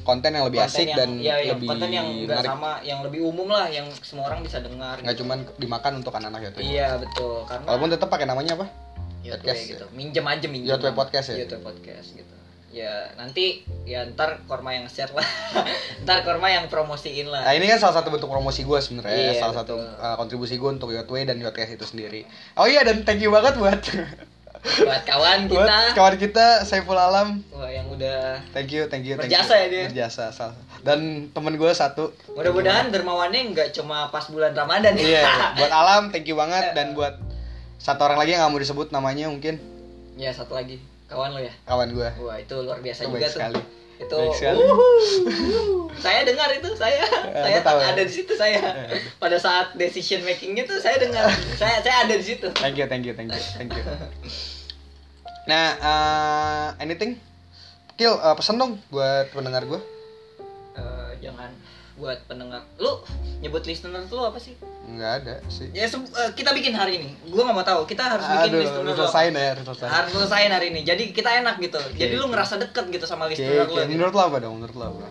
Speaker 1: konten yang lebih
Speaker 2: konten
Speaker 1: asik
Speaker 2: yang-
Speaker 1: dan
Speaker 2: ya, yang
Speaker 1: lebih
Speaker 2: konten yang nggak
Speaker 1: menarik.
Speaker 2: sama, yang lebih umum lah, yang semua orang bisa dengar. gitu.
Speaker 1: Nggak cuman dimakan untuk anak-anak gitu.
Speaker 2: Iya betul karena
Speaker 1: Walaupun tetap pakai namanya apa?
Speaker 2: Yotwe
Speaker 1: podcast
Speaker 2: gitu. Minjem aja minjem.
Speaker 1: Yotwe podcast ya?
Speaker 2: Yotwe podcast gitu. Ya nanti ya ntar korma yang share lah. ntar korma yang promosiin lah.
Speaker 1: Nah ini kan salah satu bentuk promosi gue sebenarnya,
Speaker 2: Iya,
Speaker 1: salah satu
Speaker 2: betul.
Speaker 1: uh, kontribusi gue untuk Yotway dan Yotcast itu sendiri. Oh iya dan thank you banget buat
Speaker 2: Buat kawan
Speaker 1: buat
Speaker 2: kita.
Speaker 1: kawan kita Saiful Alam.
Speaker 2: Wah, yang udah
Speaker 1: Thank you, thank you, thank
Speaker 2: Berjasa
Speaker 1: you.
Speaker 2: ya dia.
Speaker 1: Berjasa, salah. Dan temen gue satu.
Speaker 2: mudah-mudahan dermawannya nggak cuma pas bulan Ramadan. ya.
Speaker 1: Iya, buat Alam thank you
Speaker 2: Eh.
Speaker 1: banget dan buat satu orang lagi yang nggak mau disebut namanya mungkin
Speaker 2: ya satu lagi kawan lo ya.
Speaker 1: kawan kan? gue.
Speaker 2: Wah itu luar biasa
Speaker 1: Itu
Speaker 2: juga
Speaker 1: baik
Speaker 2: tuh.
Speaker 1: sekali.
Speaker 2: Itu.
Speaker 1: Baik sekali.
Speaker 2: wuhu, saya dengar itu saya.
Speaker 1: Eh,
Speaker 2: saya
Speaker 1: aku tahu ya. Iya.
Speaker 2: ada di situ saya. Pada saat decision makingnya tuh saya dengar. saya saya ada di situ.
Speaker 1: Thank you, thank you, thank you, thank you. Nah, uh, anything? Kill, uh, pesan dong buat pendengar gue.
Speaker 2: Eh, jangan buat pendengar lu nyebut listener tuh lu apa sih
Speaker 1: Nggak ada sih.
Speaker 2: ya se- eh, kita bikin hari ini gua nggak mau tahu kita harus bikin
Speaker 1: Aduh,
Speaker 2: listener
Speaker 1: udah
Speaker 2: lu apa.
Speaker 1: selesai deh, udah selesai.
Speaker 2: harus selesaiin hari ini jadi kita enak gitu jadi lu ngerasa deket gitu sama
Speaker 1: Oke,
Speaker 2: listener
Speaker 1: oke.
Speaker 2: lu gitu.
Speaker 1: menurut lo apa dong? Menurut lo apa?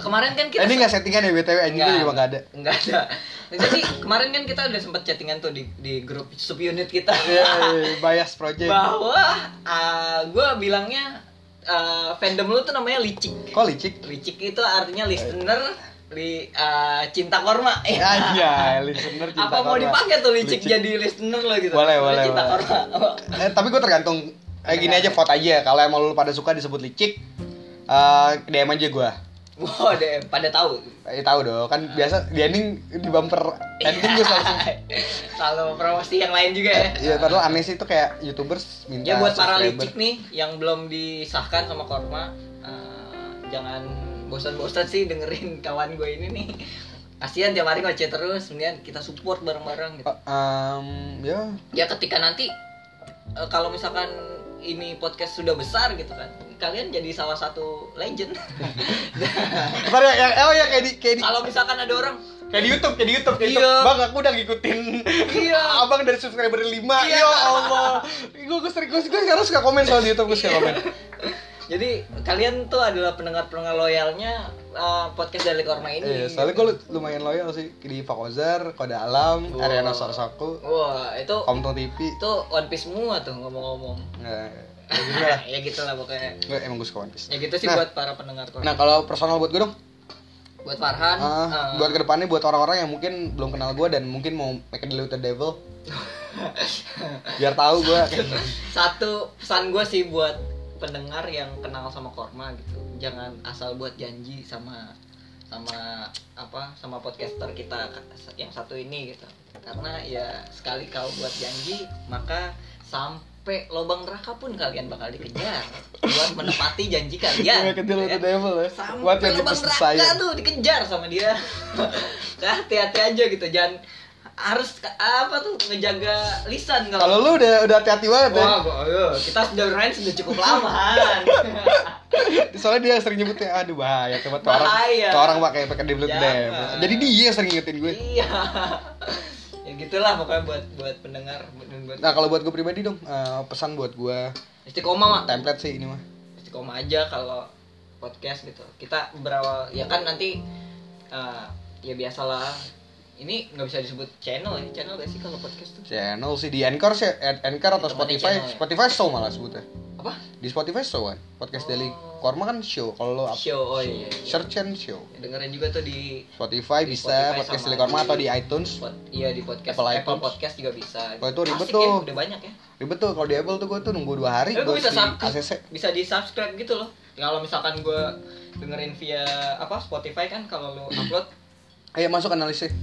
Speaker 2: kemarin kan
Speaker 1: Eh,
Speaker 2: kita
Speaker 1: ini nggak settingan ya BTW anjing gue juga nggak ada.
Speaker 2: Enggak ada. Nah, Jadi kemarin kan kita udah sempat chattingan tuh di di grup subunit kita
Speaker 1: Iya, iya, bias project.
Speaker 2: bahwa gue bilangnya eh, fandom lu tuh namanya licik.
Speaker 1: Kok licik?
Speaker 2: Licik itu artinya listener di eh, cinta korma.
Speaker 1: Aja, listener Ah, iya, cinta
Speaker 2: Apa mau
Speaker 1: korma.
Speaker 2: dipakai tuh licik, jadi listener lo gitu?
Speaker 1: Boleh,
Speaker 2: Lu
Speaker 1: boleh,
Speaker 2: Cinta
Speaker 1: boleh.
Speaker 2: korma.
Speaker 1: Eh, tapi gue tergantung eh, gini aja vote aja kalau emang lu pada suka disebut licik eh DM aja gue
Speaker 2: Wah, deh, pada tahu.
Speaker 1: Eh, tahu dong kan
Speaker 2: Ah,
Speaker 1: biasa
Speaker 2: iya.
Speaker 1: di ending di bumper Eh, ending gue selalu
Speaker 2: Kalau promosi yang lain juga ya.
Speaker 1: Iya, padahal aneh sih itu kayak youtubers minta
Speaker 2: Ya buat para
Speaker 1: Nah, subscriber.
Speaker 2: licik nih yang belum disahkan sama Korma, eh, jangan bosan-bosan sih dengerin kawan gue ini nih. Kasihan tiap hari ngoceh terus, kemudian kita support bareng-bareng gitu.
Speaker 1: Eh, em, ya
Speaker 2: Ya ketika nanti eh, kalau misalkan ini podcast sudah besar gitu kan, kalian jadi salah satu legend.
Speaker 1: Ntar ya, ya- oh ya kayak di kayak di
Speaker 2: kalau misalkan ada orang,
Speaker 1: kayak di YouTube kayak di YouTube kayak di
Speaker 2: Iya.
Speaker 1: YouTube. bang aku udah ngikutin
Speaker 2: Iya.
Speaker 1: abang dari subscriber 5
Speaker 2: Iya.
Speaker 1: ya Allah gue gue sering gue gue sekarang suka komen soal di YouTube gue
Speaker 2: Iya.
Speaker 1: suka komen
Speaker 2: jadi kalian tuh adalah pendengar-pendengar loyalnya eh, podcast dari Korma ini. gitu.
Speaker 1: Iya, soalnya gue lumayan loyal sih di Fakozar, Kode Alam,
Speaker 2: Wow.
Speaker 1: Ariana Sorsoku,
Speaker 2: Wah, itu
Speaker 1: Komtong TV.
Speaker 2: itu One Piece semua tuh ngomong-ngomong.
Speaker 1: Nah, ya gitu lah.
Speaker 2: ya gitu lah pokoknya
Speaker 1: Gue emang gue suka One Piece.
Speaker 2: ya gitu sih
Speaker 1: Nah.
Speaker 2: buat para pendengar Korma.
Speaker 1: Nah, kalau personal buat gue dong,
Speaker 2: buat Farhan
Speaker 1: Ah,
Speaker 2: eh,
Speaker 1: buat kedepannya buat orang-orang yang mungkin belum kenal gue dan mungkin mau make a deal with the devil biar tahu gue
Speaker 2: satu pesan gue sih buat pendengar yang kenal sama Korma gitu jangan asal buat janji sama sama apa sama podcaster kita yang satu ini gitu karena ya sekali kau buat janji maka sampai lubang neraka pun kalian bakal dikejar buat menepati janji kalian
Speaker 1: make a deal with
Speaker 2: ya.
Speaker 1: the devil ya buat
Speaker 2: sampai
Speaker 1: yang di
Speaker 2: lubang
Speaker 1: pes
Speaker 2: neraka
Speaker 1: saya
Speaker 2: tuh dikejar sama dia Nah, hati-hati aja gitu jangan harus ke- apa tuh ngejaga lisan kalau
Speaker 1: Kalau lu udah udah hati-hati banget ya.
Speaker 2: Wah, gua, ayo, kita sudah main sudah cukup lama. kan?
Speaker 1: Soalnya dia sering nyebutnya aduh bahaya coba tuh orang
Speaker 2: Bahaya.
Speaker 1: tuh orang pakai pakai debelut
Speaker 2: Jangan.
Speaker 1: dem. Jadi dia yang sering ngingetin gue.
Speaker 2: iya. ya gitulah pokoknya buat buat pendengar buat buat
Speaker 1: Nah, kalau buat gue pribadi dong eh, pesan buat gue
Speaker 2: istiqomah mak
Speaker 1: template sih ini mah.
Speaker 2: istiqomah aja kalau podcast gitu kita berawal ya kan nanti eh, ya biasalah ini nggak bisa disebut channel ya channel gak sih kalau podcast tuh
Speaker 1: Channel sih di Anchor sih, eh, Anchor atau
Speaker 2: Itu pokoknya
Speaker 1: Spotify,
Speaker 2: channel ya.
Speaker 1: Spotify show malah sebutnya.
Speaker 2: apa
Speaker 1: Di Spotify show kan, podcast
Speaker 2: Oh.
Speaker 1: Daily Korma kan show. Kalau lo up-
Speaker 2: show oh iya, iya.
Speaker 1: search and show.
Speaker 2: Ya, dengerin juga tuh di
Speaker 1: Spotify
Speaker 2: Di
Speaker 1: bisa,
Speaker 2: Spotify
Speaker 1: podcast
Speaker 2: sama
Speaker 1: Daily Korma
Speaker 2: di-
Speaker 1: atau di iTunes.
Speaker 2: pod- iya di podcast
Speaker 1: Apple
Speaker 2: Apple,
Speaker 1: iTunes.
Speaker 2: podcast juga bisa
Speaker 1: Kalau itu ribet
Speaker 2: Asik ya,
Speaker 1: tuh.
Speaker 2: udah banyak ya
Speaker 1: Ribet tuh kalau di Apple tuh gue tuh nunggu dua hari
Speaker 2: Eh, gue
Speaker 1: buat
Speaker 2: bisa
Speaker 1: di
Speaker 2: sub-
Speaker 1: ACC.
Speaker 2: bisa di subscribe gitu loh kalau misalkan gue dengerin via apa Spotify kan kalau lu upload
Speaker 1: Ayo Iya, masuk analisnya.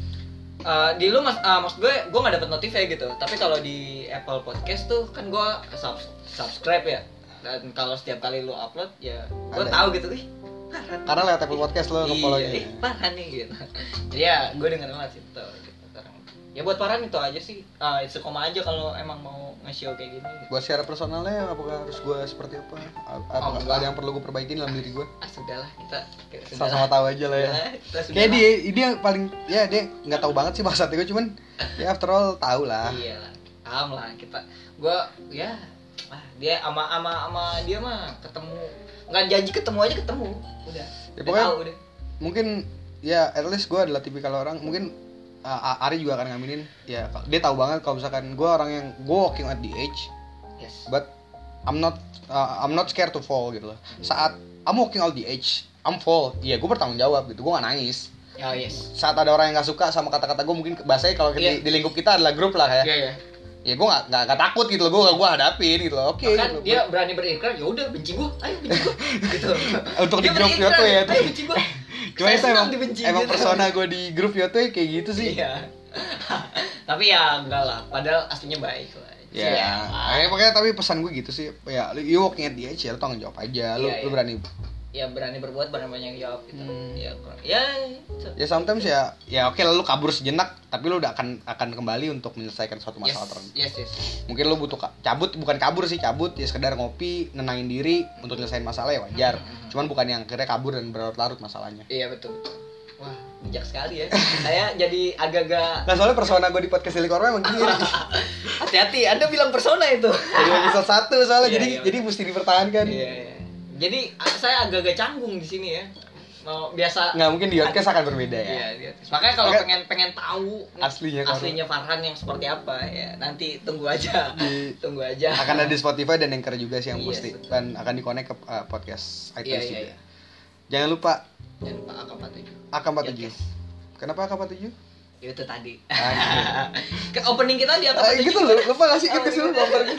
Speaker 2: Eh, di lu mas, ah, maksud gue gue nggak dapet notif ya gitu tapi kalau di Apple Podcast tuh kan gue subs- subscribe ya dan kalau setiap kali lu upload ya gue
Speaker 1: Ada.
Speaker 2: tahu gitu ih Farhan
Speaker 1: Karena lewat Apple Podcast lo
Speaker 2: Iya,
Speaker 1: nge-follow-nya.
Speaker 2: ih Farhan nih gitu Jadi ya gue dengerin banget sih tuh, gitu, sekarang ya buat Farhan itu aja sih Ah, itu koma aja kalau emang mau nge-show kayak gini gitu.
Speaker 1: Buat secara personalnya apakah harus gue seperti apa? A-
Speaker 2: Oh,
Speaker 1: Apakah
Speaker 2: enggak.
Speaker 1: ada yang perlu gue perbaiki dalam diri gue?
Speaker 2: ah sudahlah kita kita-
Speaker 1: Sama-sama tahu aja lah ya.
Speaker 2: sudahlah, kita
Speaker 1: Kayak
Speaker 2: sudahlah.
Speaker 1: dia, dia yang paling ya dia nggak tahu banget sih bahasa gue cuman ya after all tahu lah.
Speaker 2: Iya lah, paham lah kita. Gua ya ah, dia ama ama ama dia mah ketemu nggak janji ketemu aja ketemu udah
Speaker 1: Ya,
Speaker 2: udah
Speaker 1: pokoknya-
Speaker 2: tahu udah
Speaker 1: Mungkin ya at least gue adalah tipikal orang mungkin uh, A- Ari juga akan ngaminin ya ka- dia tahu banget kalau misalkan gue orang yang gue walking at the edge
Speaker 2: yes
Speaker 1: but I'm not uh, I'm not scared to fall gitu loh. Saat I'm walking on the edge, I'm fall. Iya, gue bertanggung jawab gitu. Gue gak nangis.
Speaker 2: ya yes
Speaker 1: Saat ada orang yang gak suka sama kata-kata gue, mungkin bahasanya kalau di-
Speaker 2: Iya.
Speaker 1: di, lingkup kita adalah grup lah ya.
Speaker 2: ya ya
Speaker 1: Ya gue gak, gak, gak takut gitu loh. Gue gak gue hadapin gitu loh. Oke.
Speaker 2: kan
Speaker 1: gitu.
Speaker 2: dia berani berikrar ya udah benci gua ayo benci gua gitu
Speaker 1: Untuk di
Speaker 2: Dia
Speaker 1: grup
Speaker 2: berikrar,
Speaker 1: Yotwe ya.
Speaker 2: ayo benci gua
Speaker 1: Cuma
Speaker 2: Saya
Speaker 1: itu
Speaker 2: senang
Speaker 1: emang,
Speaker 2: dibenci,
Speaker 1: emang
Speaker 2: gitu.
Speaker 1: persona gue di grup ya tuh kayak gitu sih.
Speaker 2: iya tapi ya enggak lah padahal aslinya baik lah Iya.
Speaker 1: Ya, akhirnya pokoknya tapi pesan gue gitu sih. Ya, lu- you walking at the edge ya, lu tanggung jawab aja. Lu,
Speaker 2: Iya,
Speaker 1: lu
Speaker 2: iya.
Speaker 1: berani.
Speaker 2: ya berani berbuat berani banyak jawab gitu
Speaker 1: Hmm.
Speaker 2: ya kurang- ya itu.
Speaker 1: Ya sometimes ya, ya oke lah lu kabur sejenak, tapi lu udah akan akan kembali untuk menyelesaikan suatu
Speaker 2: yes
Speaker 1: masalah tertentu.
Speaker 2: yes yes
Speaker 1: mungkin lo butuh ka- cabut bukan kabur sih cabut ya sekedar ngopi nenangin diri untuk nyelesain masalah ya wajar
Speaker 2: Hmm,
Speaker 1: cuman bukan yang akhirnya kabur dan berlarut-larut masalahnya
Speaker 2: Iya betul. Wah bijak sekali ya. Saya jadi agak-agak
Speaker 1: nah soalnya persona gue di podcast Silikor emang gini
Speaker 2: hati-hati. Anda bilang persona itu.
Speaker 1: jadi episode satu soalnya
Speaker 2: Iya,
Speaker 1: jadi
Speaker 2: iya.
Speaker 1: jadi mesti dipertahankan
Speaker 2: Iya. iya. Jadi a- saya agak-agak canggung di sini ya. Mau biasa.
Speaker 1: nggak mungkin di podcast akan berbeda ya
Speaker 2: Iya, iya. Makanya kalau
Speaker 1: Makanya-
Speaker 2: pengen pengen tahu
Speaker 1: Aslinya Farhan.
Speaker 2: aslinya Farhan yang seperti apa ya nanti tunggu aja.
Speaker 1: Di-
Speaker 2: Tunggu aja.
Speaker 1: akan ada di Spotify dan Anchor juga sih yang
Speaker 2: Iya,
Speaker 1: pasti
Speaker 2: betul.
Speaker 1: dan akan dikonek ke uh, podcast
Speaker 2: Iya
Speaker 1: iTunes
Speaker 2: iya
Speaker 1: juga
Speaker 2: iya.
Speaker 1: jangan lupa
Speaker 2: Dan Pak AK47.
Speaker 1: AK47
Speaker 2: Yes.
Speaker 1: kenapa AK47
Speaker 2: Ya, Itu tadi.
Speaker 1: Ah,
Speaker 2: Ke opening kita di
Speaker 1: Ah,
Speaker 2: AK47.
Speaker 1: gitu loh, lupa gak sih
Speaker 2: Oh,
Speaker 1: kita
Speaker 2: gitu.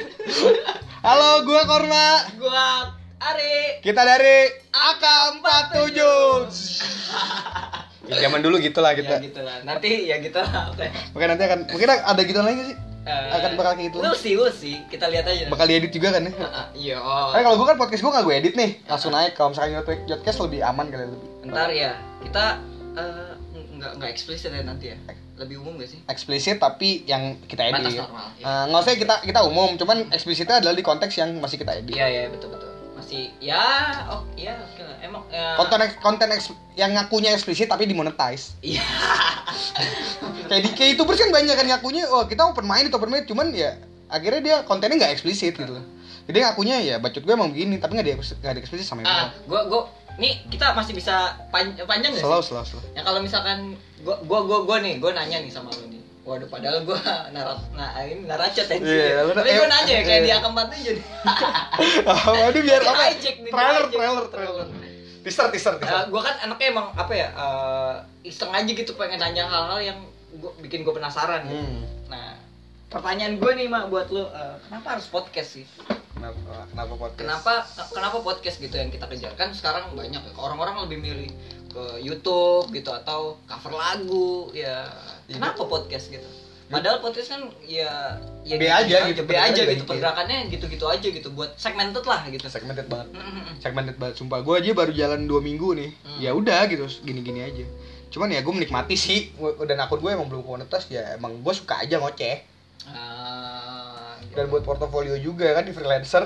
Speaker 1: Halo, gue Korma.
Speaker 2: Gua Ari.
Speaker 1: Kita dari AK47. ya, zaman dulu gitulah
Speaker 2: Ya
Speaker 1: kita.
Speaker 2: gitu lah. Nanti ya gitu lah. Oke.
Speaker 1: Iya, Oke nanti akan mungkin ada gituan lagi gak sih.
Speaker 2: Eh,
Speaker 1: Akan bakal kayak gitu.
Speaker 2: We'll see, we'll see. Kita lihat aja.
Speaker 1: Bakal diedit juga kan ya.
Speaker 2: Ah, ah, Iya.
Speaker 1: Karena kalau gue kan podcast gue gak gue edit nih, langsung naik. Kalau misalkan YouTube podcast lebih aman kali lebih.
Speaker 2: Ntar ya. Kita eh, nggak nggak eksplisit ya nanti ya. Lebih umum gak sih?
Speaker 1: eksplisit tapi yang kita edit.
Speaker 2: Batas normal, iya.
Speaker 1: Eh, nggak usah kita kita umum, cuman eksplisitnya adalah di konteks yang masih kita edit.
Speaker 2: Iya iya betul betul. Masih ya oh ya oke lah. Emang ya.
Speaker 1: Konten eks- konten eks- yang ngakunya eksplisit tapi dimonetize.
Speaker 2: Iya.
Speaker 1: Kayak di kayak YouTubers kan banyak kan ngakunya, wah kita open mind itu open mind, cuman ya akhirnya dia kontennya nggak eksplisit gitu loh. Jadi ngakunya ya bacot gue emang begini, tapi nggak di nggak di eksplisit sama
Speaker 2: Ah,
Speaker 1: yang
Speaker 2: gua gua nih kita masih bisa pan- panjang gak sih?
Speaker 1: Slow, slow, slow.
Speaker 2: Ya kalau misalkan gua gua gua gua nih, gua nanya nih sama lu nih. Waduh, padahal gua narat nah ini naracot ya.
Speaker 1: Iya, lu-
Speaker 2: Tapi gua
Speaker 1: eh,
Speaker 2: nanya ya kayak
Speaker 1: iya.
Speaker 2: di akam batu jadi.
Speaker 1: Waduh Oh, biar apa?
Speaker 2: Hijack nih,
Speaker 1: Trailer,
Speaker 2: hijack.
Speaker 1: trailer, trailer. Teaser, teaser, teaser.
Speaker 2: Eh, gua kan anaknya emang apa ya eh, iseng aja gitu pengen nanya hal-hal yang gua, bikin gue penasaran gitu.
Speaker 1: Hmm.
Speaker 2: nah pertanyaan gue nih mak buat lo kenapa harus podcast sih
Speaker 1: Kenapa, kenapa podcast?
Speaker 2: kenapa eh, kenapa podcast gitu yang kita kejar kan sekarang banyak ya, orang-orang lebih milih ke YouTube gitu atau cover lagu ya
Speaker 1: Iya.
Speaker 2: kenapa podcast gitu padahal podcast kan ya ya
Speaker 1: Be aja
Speaker 2: ya,
Speaker 1: gitu,
Speaker 2: be
Speaker 1: pergerakannya
Speaker 2: aja gitu
Speaker 1: baik, ya.
Speaker 2: pergerakannya gitu-gitu aja gitu buat segmented lah gitu
Speaker 1: Segmented banget. segmented banget sumpah gue aja baru jalan dua minggu nih
Speaker 2: Hmm.
Speaker 1: ya udah gitu gini gini aja cuman ya gue menikmati sih Gua- dan akun gue emang belum komunitas ya emang gue suka aja ngoceh
Speaker 2: Ah, gitu.
Speaker 1: dan buat portofolio juga kan di freelancer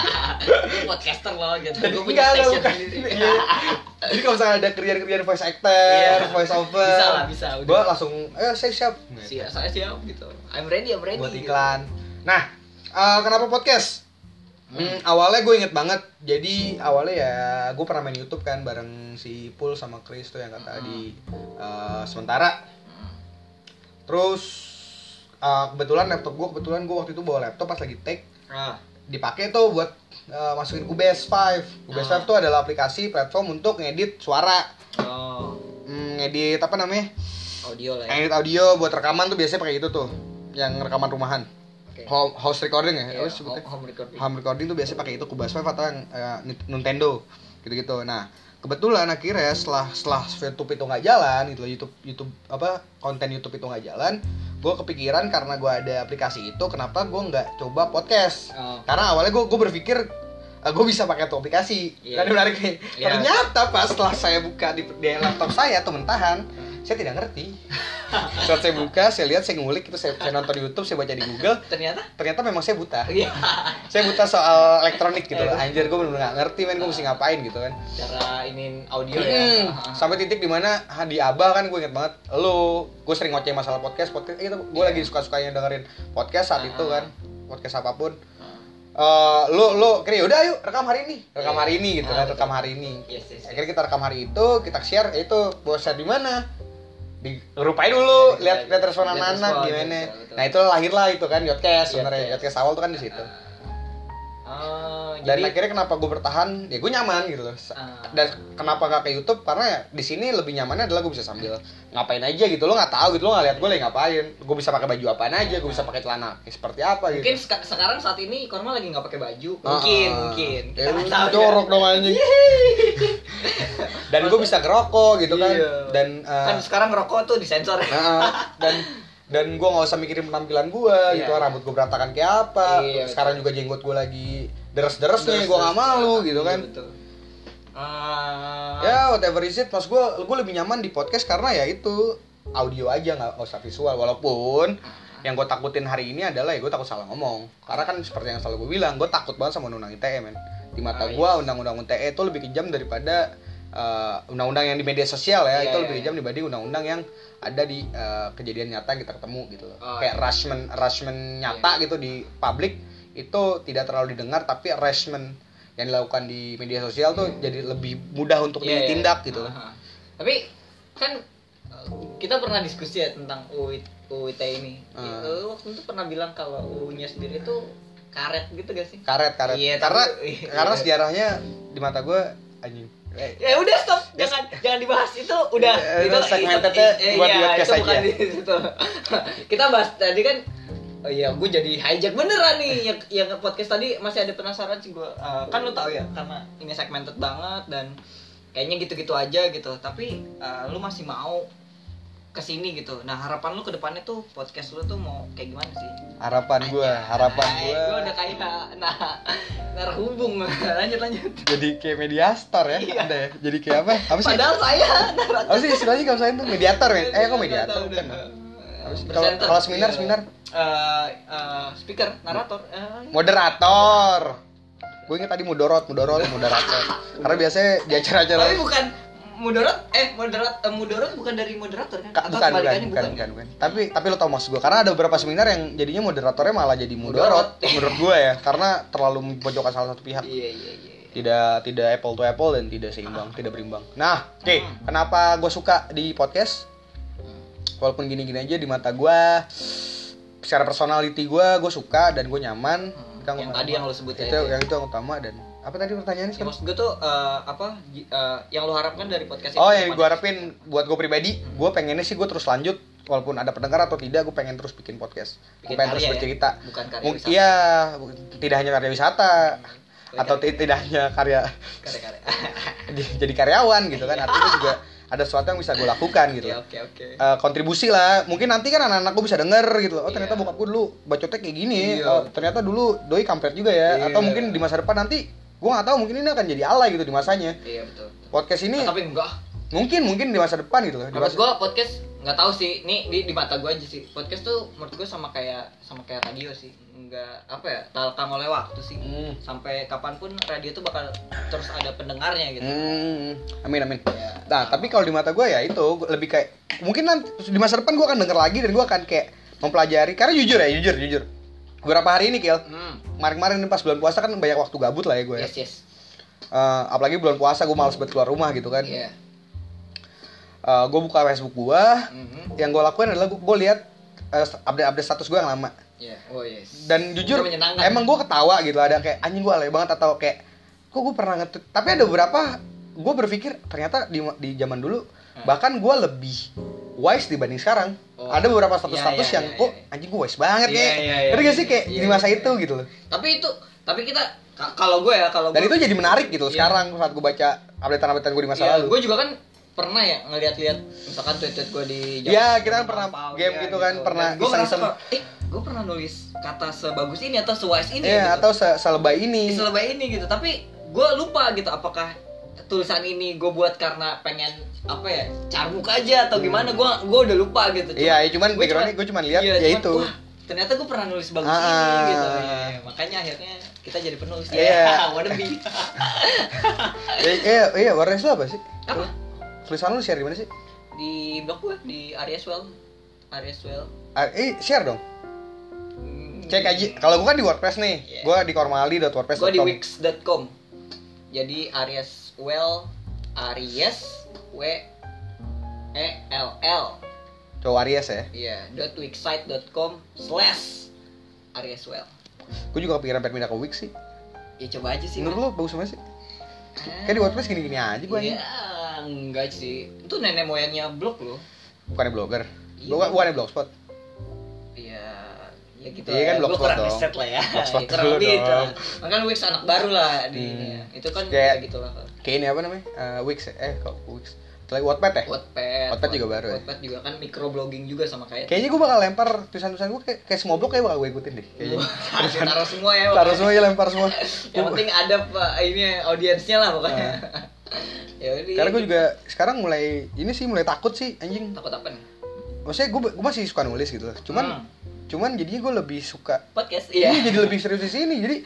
Speaker 2: Lu podcaster loh gitu. Gue
Speaker 1: Enggak
Speaker 2: punya
Speaker 1: lah
Speaker 2: station
Speaker 1: bukan.
Speaker 2: sendiri.
Speaker 1: Iya. Jadi kalau misalnya ada kerjaan-kerjaan voice actor,
Speaker 2: Iya.
Speaker 1: voice over,
Speaker 2: Bisa lah, bisa, udah.
Speaker 1: Gue langsung, eh saya siap.
Speaker 2: Siap, saya siap gitu. I'm ready, I'm ready.
Speaker 1: Buat
Speaker 2: gitu.
Speaker 1: iklan. Nah, eh, kenapa podcast? Hmm, awalnya gue inget banget. Jadi awalnya ya gue pernah main YouTube kan bareng si Pul sama Chris tuh yang kata
Speaker 2: Hmm.
Speaker 1: di eh, sementara.
Speaker 2: Hmm.
Speaker 1: Terus eh, kebetulan laptop gue kebetulan gue waktu itu bawa laptop pas lagi take
Speaker 2: Ah,
Speaker 1: dipakai tuh buat eh, masukin Cubase 5. Cubase
Speaker 2: Ah.
Speaker 1: 5 tuh adalah aplikasi platform untuk ngedit suara.
Speaker 2: oh,
Speaker 1: Hmm, ngedit apa namanya?
Speaker 2: audio lah ya.
Speaker 1: Ngedit audio buat rekaman tuh biasanya pakai itu tuh. Yang rekaman rumahan.
Speaker 2: Oke.
Speaker 1: Home, house recording ya,
Speaker 2: Iya,
Speaker 1: apa sih sebutnya?
Speaker 2: home- home recording.
Speaker 1: Home recording tuh biasanya pakai itu Cubase 5 atau yang eh, Nit- Nintendo gitu-gitu. Nah, kebetulan akhirnya setelah setelah YouTube itu nggak jalan gitu loh, YouTube YouTube apa konten YouTube itu nggak jalan, gue kepikiran karena gue ada aplikasi itu kenapa gue nggak coba podcast?
Speaker 2: Oh.
Speaker 1: Karena awalnya gue gue berpikir gue bisa pakai tuh aplikasi
Speaker 2: Iya.
Speaker 1: dan menarik nih.
Speaker 2: Iya.
Speaker 1: Ternyata pas setelah saya buka di, di laptop saya temen tahan, saya tidak ngerti. Saat saya buka, saya lihat, saya ngulik itu saya, saya nonton di YouTube, saya baca di Google,
Speaker 2: Ternyata
Speaker 1: ternyata memang saya buta.
Speaker 2: iya.
Speaker 1: Saya buta soal elektronik gitu loh. Anjir, gue bener-bener gak ngerti men, gue mesti ngapain gitu kan.
Speaker 2: cara ini audio
Speaker 1: Hmm,
Speaker 2: ya. Ah, ah.
Speaker 1: sampai titik dimana ah, di Abah kan gue inget banget lo gue sering ngoceh masalah podcast podcast eh, itu gue lagi suka sukanya dengerin podcast saat itu kan podcast apapun
Speaker 2: Ah.
Speaker 1: Eh, lo lo kira udah yuk rekam hari ini rekam
Speaker 2: Iya.
Speaker 1: hari ini gitu
Speaker 2: Ah,
Speaker 1: kan
Speaker 2: betul.
Speaker 1: rekam hari ini
Speaker 2: Yes, yes, yes.
Speaker 1: akhirnya kita rekam hari itu kita share eh, itu mau share di mana di grup aja dulu
Speaker 2: Iya,
Speaker 1: lihat
Speaker 2: iya.
Speaker 1: lihat respon
Speaker 2: Lihat
Speaker 1: anak-anak
Speaker 2: respon,
Speaker 1: gimana
Speaker 2: betul, betul. Iya,
Speaker 1: nah itu lahirlah itu kan yodcast sebenarnya
Speaker 2: Yodcast.
Speaker 1: yodcast awal tuh kan di situ
Speaker 2: Ah,
Speaker 1: dan
Speaker 2: jadi
Speaker 1: akhirnya kenapa gue bertahan ya gue nyaman gitu loh
Speaker 2: Ah.
Speaker 1: dan kenapa gak ke YouTube karena ya di sini lebih nyamannya adalah gue bisa sambil ngapain aja gitu lo nggak tahu gitu lo nggak lihat gue lagi ngapain gue bisa pakai baju apaan aja gue bisa pakai celana seperti apa gitu
Speaker 2: mungkin seka- sekarang saat ini Korma lagi nggak pakai baju. Mungkin,
Speaker 1: Ah, ah.
Speaker 2: mungkin.
Speaker 1: Ya,
Speaker 2: Kita
Speaker 1: lu
Speaker 2: nggak tahu ya.
Speaker 1: jorok dong anjing dan gue bisa ngerokok gitu kan
Speaker 2: Iya.
Speaker 1: dan eh,
Speaker 2: Kan sekarang rokok tuh disensor. ya.
Speaker 1: eh, dan dan gue nggak usah mikirin penampilan gue
Speaker 2: Iya.
Speaker 1: gitu rambut gue berantakan kayak apa
Speaker 2: Iya,
Speaker 1: sekarang juga jenggot gue lagi deres-deres nih
Speaker 2: Terus,
Speaker 1: gue nggak
Speaker 2: terus.
Speaker 1: malu gitu kan
Speaker 2: Iya, betul. Ah,
Speaker 1: ya whatever is it mas gue gue lebih nyaman di podcast karena ya itu audio aja nggak nggak usah visual walaupun
Speaker 2: Hmm.
Speaker 1: yang gue takutin hari ini adalah ya gue takut salah ngomong karena kan seperti yang selalu gue bilang gue takut banget sama undang-undang ITE men di mata
Speaker 2: Ah,
Speaker 1: gue undang-undang ITE itu lebih kejam daripada eh, undang-undang yang di media sosial ya
Speaker 2: Iya,
Speaker 1: itu
Speaker 2: iya,
Speaker 1: lebih
Speaker 2: iya.
Speaker 1: kejam dibanding undang-undang yang ada di eh, kejadian nyata yang kita ketemu gitu loh
Speaker 2: Oh,
Speaker 1: kayak
Speaker 2: iya.
Speaker 1: harassment harassment nyata gitu di publik itu tidak terlalu didengar tapi harassment yang dilakukan di media sosial tuh
Speaker 2: Hmm.
Speaker 1: jadi lebih mudah untuk
Speaker 2: Iya, iya.
Speaker 1: ditindak gitu loh.
Speaker 2: Aha. Tapi kan eh, kita pernah diskusi ya tentang UIT, UIT ini.
Speaker 1: Ah.
Speaker 2: Eh, lu waktu itu pernah bilang kalau U-nya sendiri tuh karet gitu gak sih?
Speaker 1: karet karet
Speaker 2: Iya,
Speaker 1: karena
Speaker 2: tapi- iya.
Speaker 1: karena sejarahnya di mata gue anjing Eh,
Speaker 2: Ya udah stop, jangan jangan dibahas itu udah
Speaker 1: Eh,
Speaker 2: itu
Speaker 1: itu segmentednya buat
Speaker 2: iya,
Speaker 1: podcast
Speaker 2: itu bukan
Speaker 1: aja.
Speaker 2: di situ. kita bahas tadi kan Oh iya, gue jadi hijack beneran nih yang, yang podcast tadi masih ada penasaran sih gue. kan lu tahu ya, karena ini segmented banget dan kayaknya gitu-gitu aja gitu. Tapi eh, lu masih mau kesini gitu. Nah harapan lu ke depannya tuh podcast lu tuh mau kayak gimana sih?
Speaker 1: harapan gue Kan harapan
Speaker 2: Ay,
Speaker 1: gue
Speaker 2: Gue udah kayak nah narhubung lanjut lanjut.
Speaker 1: jadi kayak mediator ya ada ya jadi kayak apa apa sih
Speaker 2: Iya. Padahal Iya, saya narasumber.
Speaker 1: apa sih istilahnya kalau saya itu mediator men eh kok mediator bukan ya? Apa sih? Kalau-
Speaker 2: Presenter.
Speaker 1: kalau seminar,
Speaker 2: Iya.
Speaker 1: seminar?
Speaker 2: Eh, eh, speaker, narator. Eh,
Speaker 1: moderator gue inget tadi mudorot mudorot moderator karena biasanya di acara-acara
Speaker 2: tapi bukan moderat eh moderat eh, moderat bukan dari moderator kan?
Speaker 1: Ka-
Speaker 2: Atau
Speaker 1: bukan, bukan,
Speaker 2: kebalikannya
Speaker 1: bukan, bukan, bukan. Tapi tapi lo tau maksud gue karena ada beberapa seminar yang jadinya moderatornya malah jadi mudorot
Speaker 2: Mudorot.
Speaker 1: menurut gue ya karena terlalu memojokkan salah satu pihak.
Speaker 2: Iya iya iya.
Speaker 1: Tidak tidak apple to apple dan tidak seimbang, tidak berimbang. Nah, oke, kenapa gue suka di podcast? Walaupun gini-gini aja di mata gue secara personality gue gue suka dan gue nyaman.
Speaker 2: Hmm,
Speaker 1: Itu
Speaker 2: yang
Speaker 1: utama.
Speaker 2: tadi yang lo sebutin
Speaker 1: itu
Speaker 2: aja ya.
Speaker 1: yang itu yang utama dan apa tadi pertanyaannya
Speaker 2: Ya,
Speaker 1: sekarang?
Speaker 2: maksud gue tuh eh, apa gi- eh, yang lo harapkan dari podcast ini?
Speaker 1: Oh yang gue
Speaker 2: Apa?
Speaker 1: harapin buat gue pribadi, gue pengennya sih gue terus lanjut walaupun ada pendengar atau tidak, gue pengen terus bikin podcast, gue
Speaker 2: Bikin
Speaker 1: pengen terus
Speaker 2: karya ya?
Speaker 1: bercerita.
Speaker 2: Bukan karya
Speaker 1: Mung-
Speaker 2: wisata.
Speaker 1: Iya, bu- tidak hanya karya wisata
Speaker 2: Karya-
Speaker 1: atau ti- tidak hanya karya
Speaker 2: Kare-kare.
Speaker 1: jadi jadi karyawan gitu kan, artinya juga ada sesuatu yang bisa gue lakukan gitu.
Speaker 2: Iya, Oke oke.
Speaker 1: Eh, kontribusi lah mungkin nanti kan anak-anak gue bisa denger gitu loh oh ternyata
Speaker 2: Iya.
Speaker 1: bokap gue dulu bacotnya kayak gini
Speaker 2: Iya.
Speaker 1: Oh, ternyata dulu doi kampret juga ya atau
Speaker 2: Iya.
Speaker 1: mungkin di masa depan nanti gue nggak tahu mungkin ini akan jadi alay gitu di masanya
Speaker 2: Iya betul. betul.
Speaker 1: podcast ini
Speaker 2: Nah, tapi enggak.
Speaker 1: mungkin mungkin di masa depan gitu loh di
Speaker 2: Menurut
Speaker 1: masa,
Speaker 2: gue podcast nggak tahu sih, ini di, di mata gue aja sih. Podcast tuh menurut gue sama kayak sama kayak radio sih, nggak apa ya, talkan oleh waktu sih.
Speaker 1: Hmm.
Speaker 2: Sampai kapanpun radio tuh bakal terus ada pendengarnya gitu.
Speaker 1: Hmm, amin amin
Speaker 2: Ya.
Speaker 1: nah tapi kalau di mata gue ya itu gua lebih kayak mungkin nanti di masa depan gue akan denger lagi dan gue akan kayak mempelajari karena jujur ya jujur jujur beberapa hari ini Kel
Speaker 2: Hmm.
Speaker 1: kemarin-kemarin pas bulan puasa kan banyak waktu gabut lah ya gue ya.
Speaker 2: Yes yes.
Speaker 1: Eh, apalagi bulan puasa gue males banget keluar rumah gitu kan
Speaker 2: Iya.
Speaker 1: Eh, gue buka Facebook gue
Speaker 2: Mhm.
Speaker 1: yang gue lakuin adalah gue lihat update update status gue yang lama
Speaker 2: Iya. Oh yes.
Speaker 1: dan jujur
Speaker 2: Itu menyenangkan.
Speaker 1: emang gue ketawa gitu ada kayak anjing gue alay banget atau kayak kok gue pernah ngetweet tapi ada beberapa gue berpikir ternyata di di zaman dulu
Speaker 2: Hmm.
Speaker 1: bahkan gue lebih wise dibanding sekarang
Speaker 2: Oh.
Speaker 1: ada beberapa status-status
Speaker 2: Iya, iya,
Speaker 1: yang
Speaker 2: iya,
Speaker 1: kok
Speaker 2: iya.
Speaker 1: anjing gue wise banget
Speaker 2: Iya,
Speaker 1: nih
Speaker 2: iya, iya,
Speaker 1: ngerti gak sih
Speaker 2: iya,
Speaker 1: kayak
Speaker 2: iya,
Speaker 1: di masa
Speaker 2: iya.
Speaker 1: itu gitu loh
Speaker 2: Tapi itu, tapi kita ka- kalau gue ya kalau
Speaker 1: dan itu
Speaker 2: gue
Speaker 1: jadi menarik gitu loh
Speaker 2: Iya.
Speaker 1: sekarang saat gue baca updatean-updatean gue di masa lalu
Speaker 2: Gue juga kan pernah ya ngeliat-liat misalkan tweet-tweet gue di
Speaker 1: Iya, kita kan pernah game gitu kan, pernah
Speaker 2: Gue ngerasa
Speaker 1: iseng-iseng.
Speaker 2: kalau, eh gue pernah nulis kata sebagus ini atau sewise ini
Speaker 1: Iya,
Speaker 2: ya,
Speaker 1: atau
Speaker 2: gitu.
Speaker 1: se selebay ini
Speaker 2: selebay ini gitu tapi gue lupa gitu apakah tulisan ini gue buat karena pengen apa ya carbuk aja atau gimana gue gue udah lupa gitu Cuma-
Speaker 1: Hmm. Iya, ya cuman
Speaker 2: gua
Speaker 1: backgroundnya
Speaker 2: cuma-
Speaker 1: gue cuma lihat
Speaker 2: iya,
Speaker 1: ya
Speaker 2: cuman,
Speaker 1: itu.
Speaker 2: wah, ternyata gue pernah nulis bagus
Speaker 1: Ah.
Speaker 2: ini gitu Iya, makanya akhirnya kita jadi penulis
Speaker 1: Iya.
Speaker 2: ya wannabe
Speaker 1: Eh, Iya, iya, Warnes lo apa sih?
Speaker 2: apa
Speaker 1: Tulisan lu share di mana sih?
Speaker 2: di blog gue di Ariaswell Ariaswell
Speaker 1: Ah, eh, share dong.
Speaker 2: Hmm.
Speaker 1: Cek aja. Kalau gua kan di WordPress nih.
Speaker 2: Iya.
Speaker 1: Gua di kormali.wordpress.com.
Speaker 2: Gue di wix.com. Jadi Aries Well Aries W E L L.
Speaker 1: Cowok Aries ya.
Speaker 2: Iya, dot wixsite.com slash Aries Well.
Speaker 1: Gua juga kepikiran pengen pindah ke Wix sih.
Speaker 2: Ya coba aja sih. Eh.
Speaker 1: Menurut lu bagus banget sih? Kayak di WordPress gini-gini aja gua
Speaker 2: Iya,
Speaker 1: ini.
Speaker 2: enggak sih. Itu nenek moyangnya blog loh.
Speaker 1: Bukannya blogger.
Speaker 2: Iya.
Speaker 1: Bukan bukannya blogspot.
Speaker 2: Iya ya gitu
Speaker 1: Iya kan,
Speaker 2: Gua
Speaker 1: blogspot
Speaker 2: kurang
Speaker 1: dong.
Speaker 2: riset lah ya
Speaker 1: Blogspot
Speaker 2: kurang
Speaker 1: dulu
Speaker 2: lebih itu
Speaker 1: dong.
Speaker 2: makanya kan Wix anak baru lah di
Speaker 1: Hmm.
Speaker 2: ini ya. itu kan
Speaker 1: Kayak-
Speaker 2: kayak gitu lah
Speaker 1: Kayak ini apa namanya? Eh, Wix ya? eh kok Wix. Atau Lagi Wattpad ya?
Speaker 2: Wattpad
Speaker 1: Wattpad juga baru ya?
Speaker 2: Wattpad juga kan microblogging juga sama kayak
Speaker 1: Kayaknya gua bakal lempar tulisan-tulisan gua kayak, kayak semua blog kayak bakal gua ikutin deh. Kayaknya. kan
Speaker 2: Harus taruh semua ya
Speaker 1: Taruh semua ya lempar semua.
Speaker 2: pokoknya. yang penting ada pak ini audiensnya lah pokoknya ya udah
Speaker 1: Ah. Karena gua juga sekarang mulai ini sih mulai takut sih anjing.
Speaker 2: takut apa nih
Speaker 1: Maksudnya gua, gua masih suka nulis gitu loh. Cuman
Speaker 2: Hmm.
Speaker 1: cuman jadinya gua lebih suka
Speaker 2: podcast
Speaker 1: Iya
Speaker 2: iya
Speaker 1: jadi lebih serius di sini. Jadi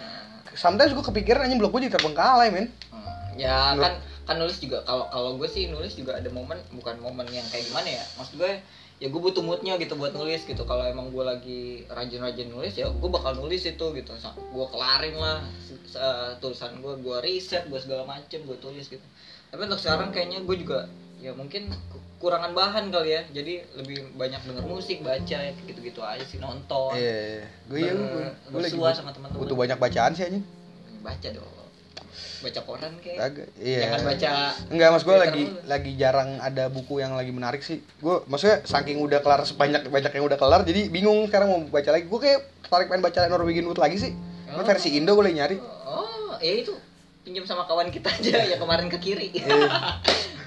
Speaker 1: sometimes gue kepikiran anjing blog gue jadi terbengkalai, men.
Speaker 2: Hmm. ya
Speaker 1: Menurut-
Speaker 2: kan kan nulis juga kalau kalau gue sih nulis juga ada momen bukan momen yang kayak gimana ya maksud gue ya gue butuh moodnya gitu buat nulis gitu kalau emang gue lagi rajin-rajin nulis ya gue bakal nulis itu gitu Sa- gue kelarin lah se- se- tulisan gue gue riset gue segala macem gue tulis gitu tapi untuk sekarang kayaknya gue juga ya mungkin kekurangan bahan kali ya jadi lebih banyak denger musik baca ya, gitu-gitu aja sih nonton
Speaker 1: Iya, gue ya gue
Speaker 2: Oh. Ber-
Speaker 1: gue lagi
Speaker 2: bersua
Speaker 1: but-
Speaker 2: sama teman-teman.
Speaker 1: butuh banyak bacaan sih anjing.
Speaker 2: baca dong baca koran kayak
Speaker 1: Kagak. Iya.
Speaker 2: jangan baca
Speaker 1: Enggak, mas gue
Speaker 2: Twitter
Speaker 1: lagi
Speaker 2: mulu.
Speaker 1: lagi jarang ada buku yang lagi menarik sih. Gue maksudnya saking udah kelar sebanyak banyak yang udah kelar jadi bingung sekarang mau baca lagi. Gue kayak tertarik pengen baca Norwegian Wood lagi sih. Ini
Speaker 2: Oh.
Speaker 1: versi Indo gue lagi nyari.
Speaker 2: Oh, ya itu pinjam sama kawan kita aja yang kemarin ke kiri.
Speaker 1: Iya.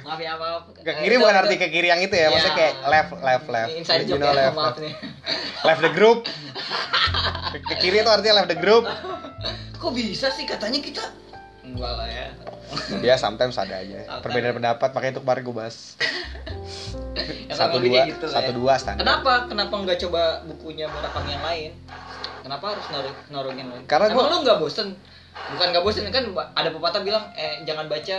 Speaker 2: maaf ya maaf.
Speaker 1: Ke kiri bukan arti ke kiri yang itu kan ya, maksudnya kayak left left left.
Speaker 2: Iya. Inside
Speaker 1: You
Speaker 2: joke
Speaker 1: know,
Speaker 2: ya,
Speaker 1: left,
Speaker 2: maaf
Speaker 1: left.
Speaker 2: nih.
Speaker 1: Left the group. Ke ke kiri itu artinya left the group.
Speaker 2: Kok bisa sih katanya kita? Enggak lah ya.
Speaker 1: ya sometimes ada aja
Speaker 2: Sometimes.
Speaker 1: perbedaan pendapat makanya itu kemarin gue bahas
Speaker 2: Ya,
Speaker 1: satu
Speaker 2: kurang lebih
Speaker 1: dua
Speaker 2: kayak gitu lah
Speaker 1: satu
Speaker 2: ya.
Speaker 1: dua standar
Speaker 2: Kenapa? Kenapa nggak coba bukunya Murakami yang lain? Kenapa harus naruh naruhin lain?
Speaker 1: Karena
Speaker 2: Emang
Speaker 1: gua-
Speaker 2: lu nggak bosen? Bukan nggak bosen kan ba- ada pepatah bilang eh jangan baca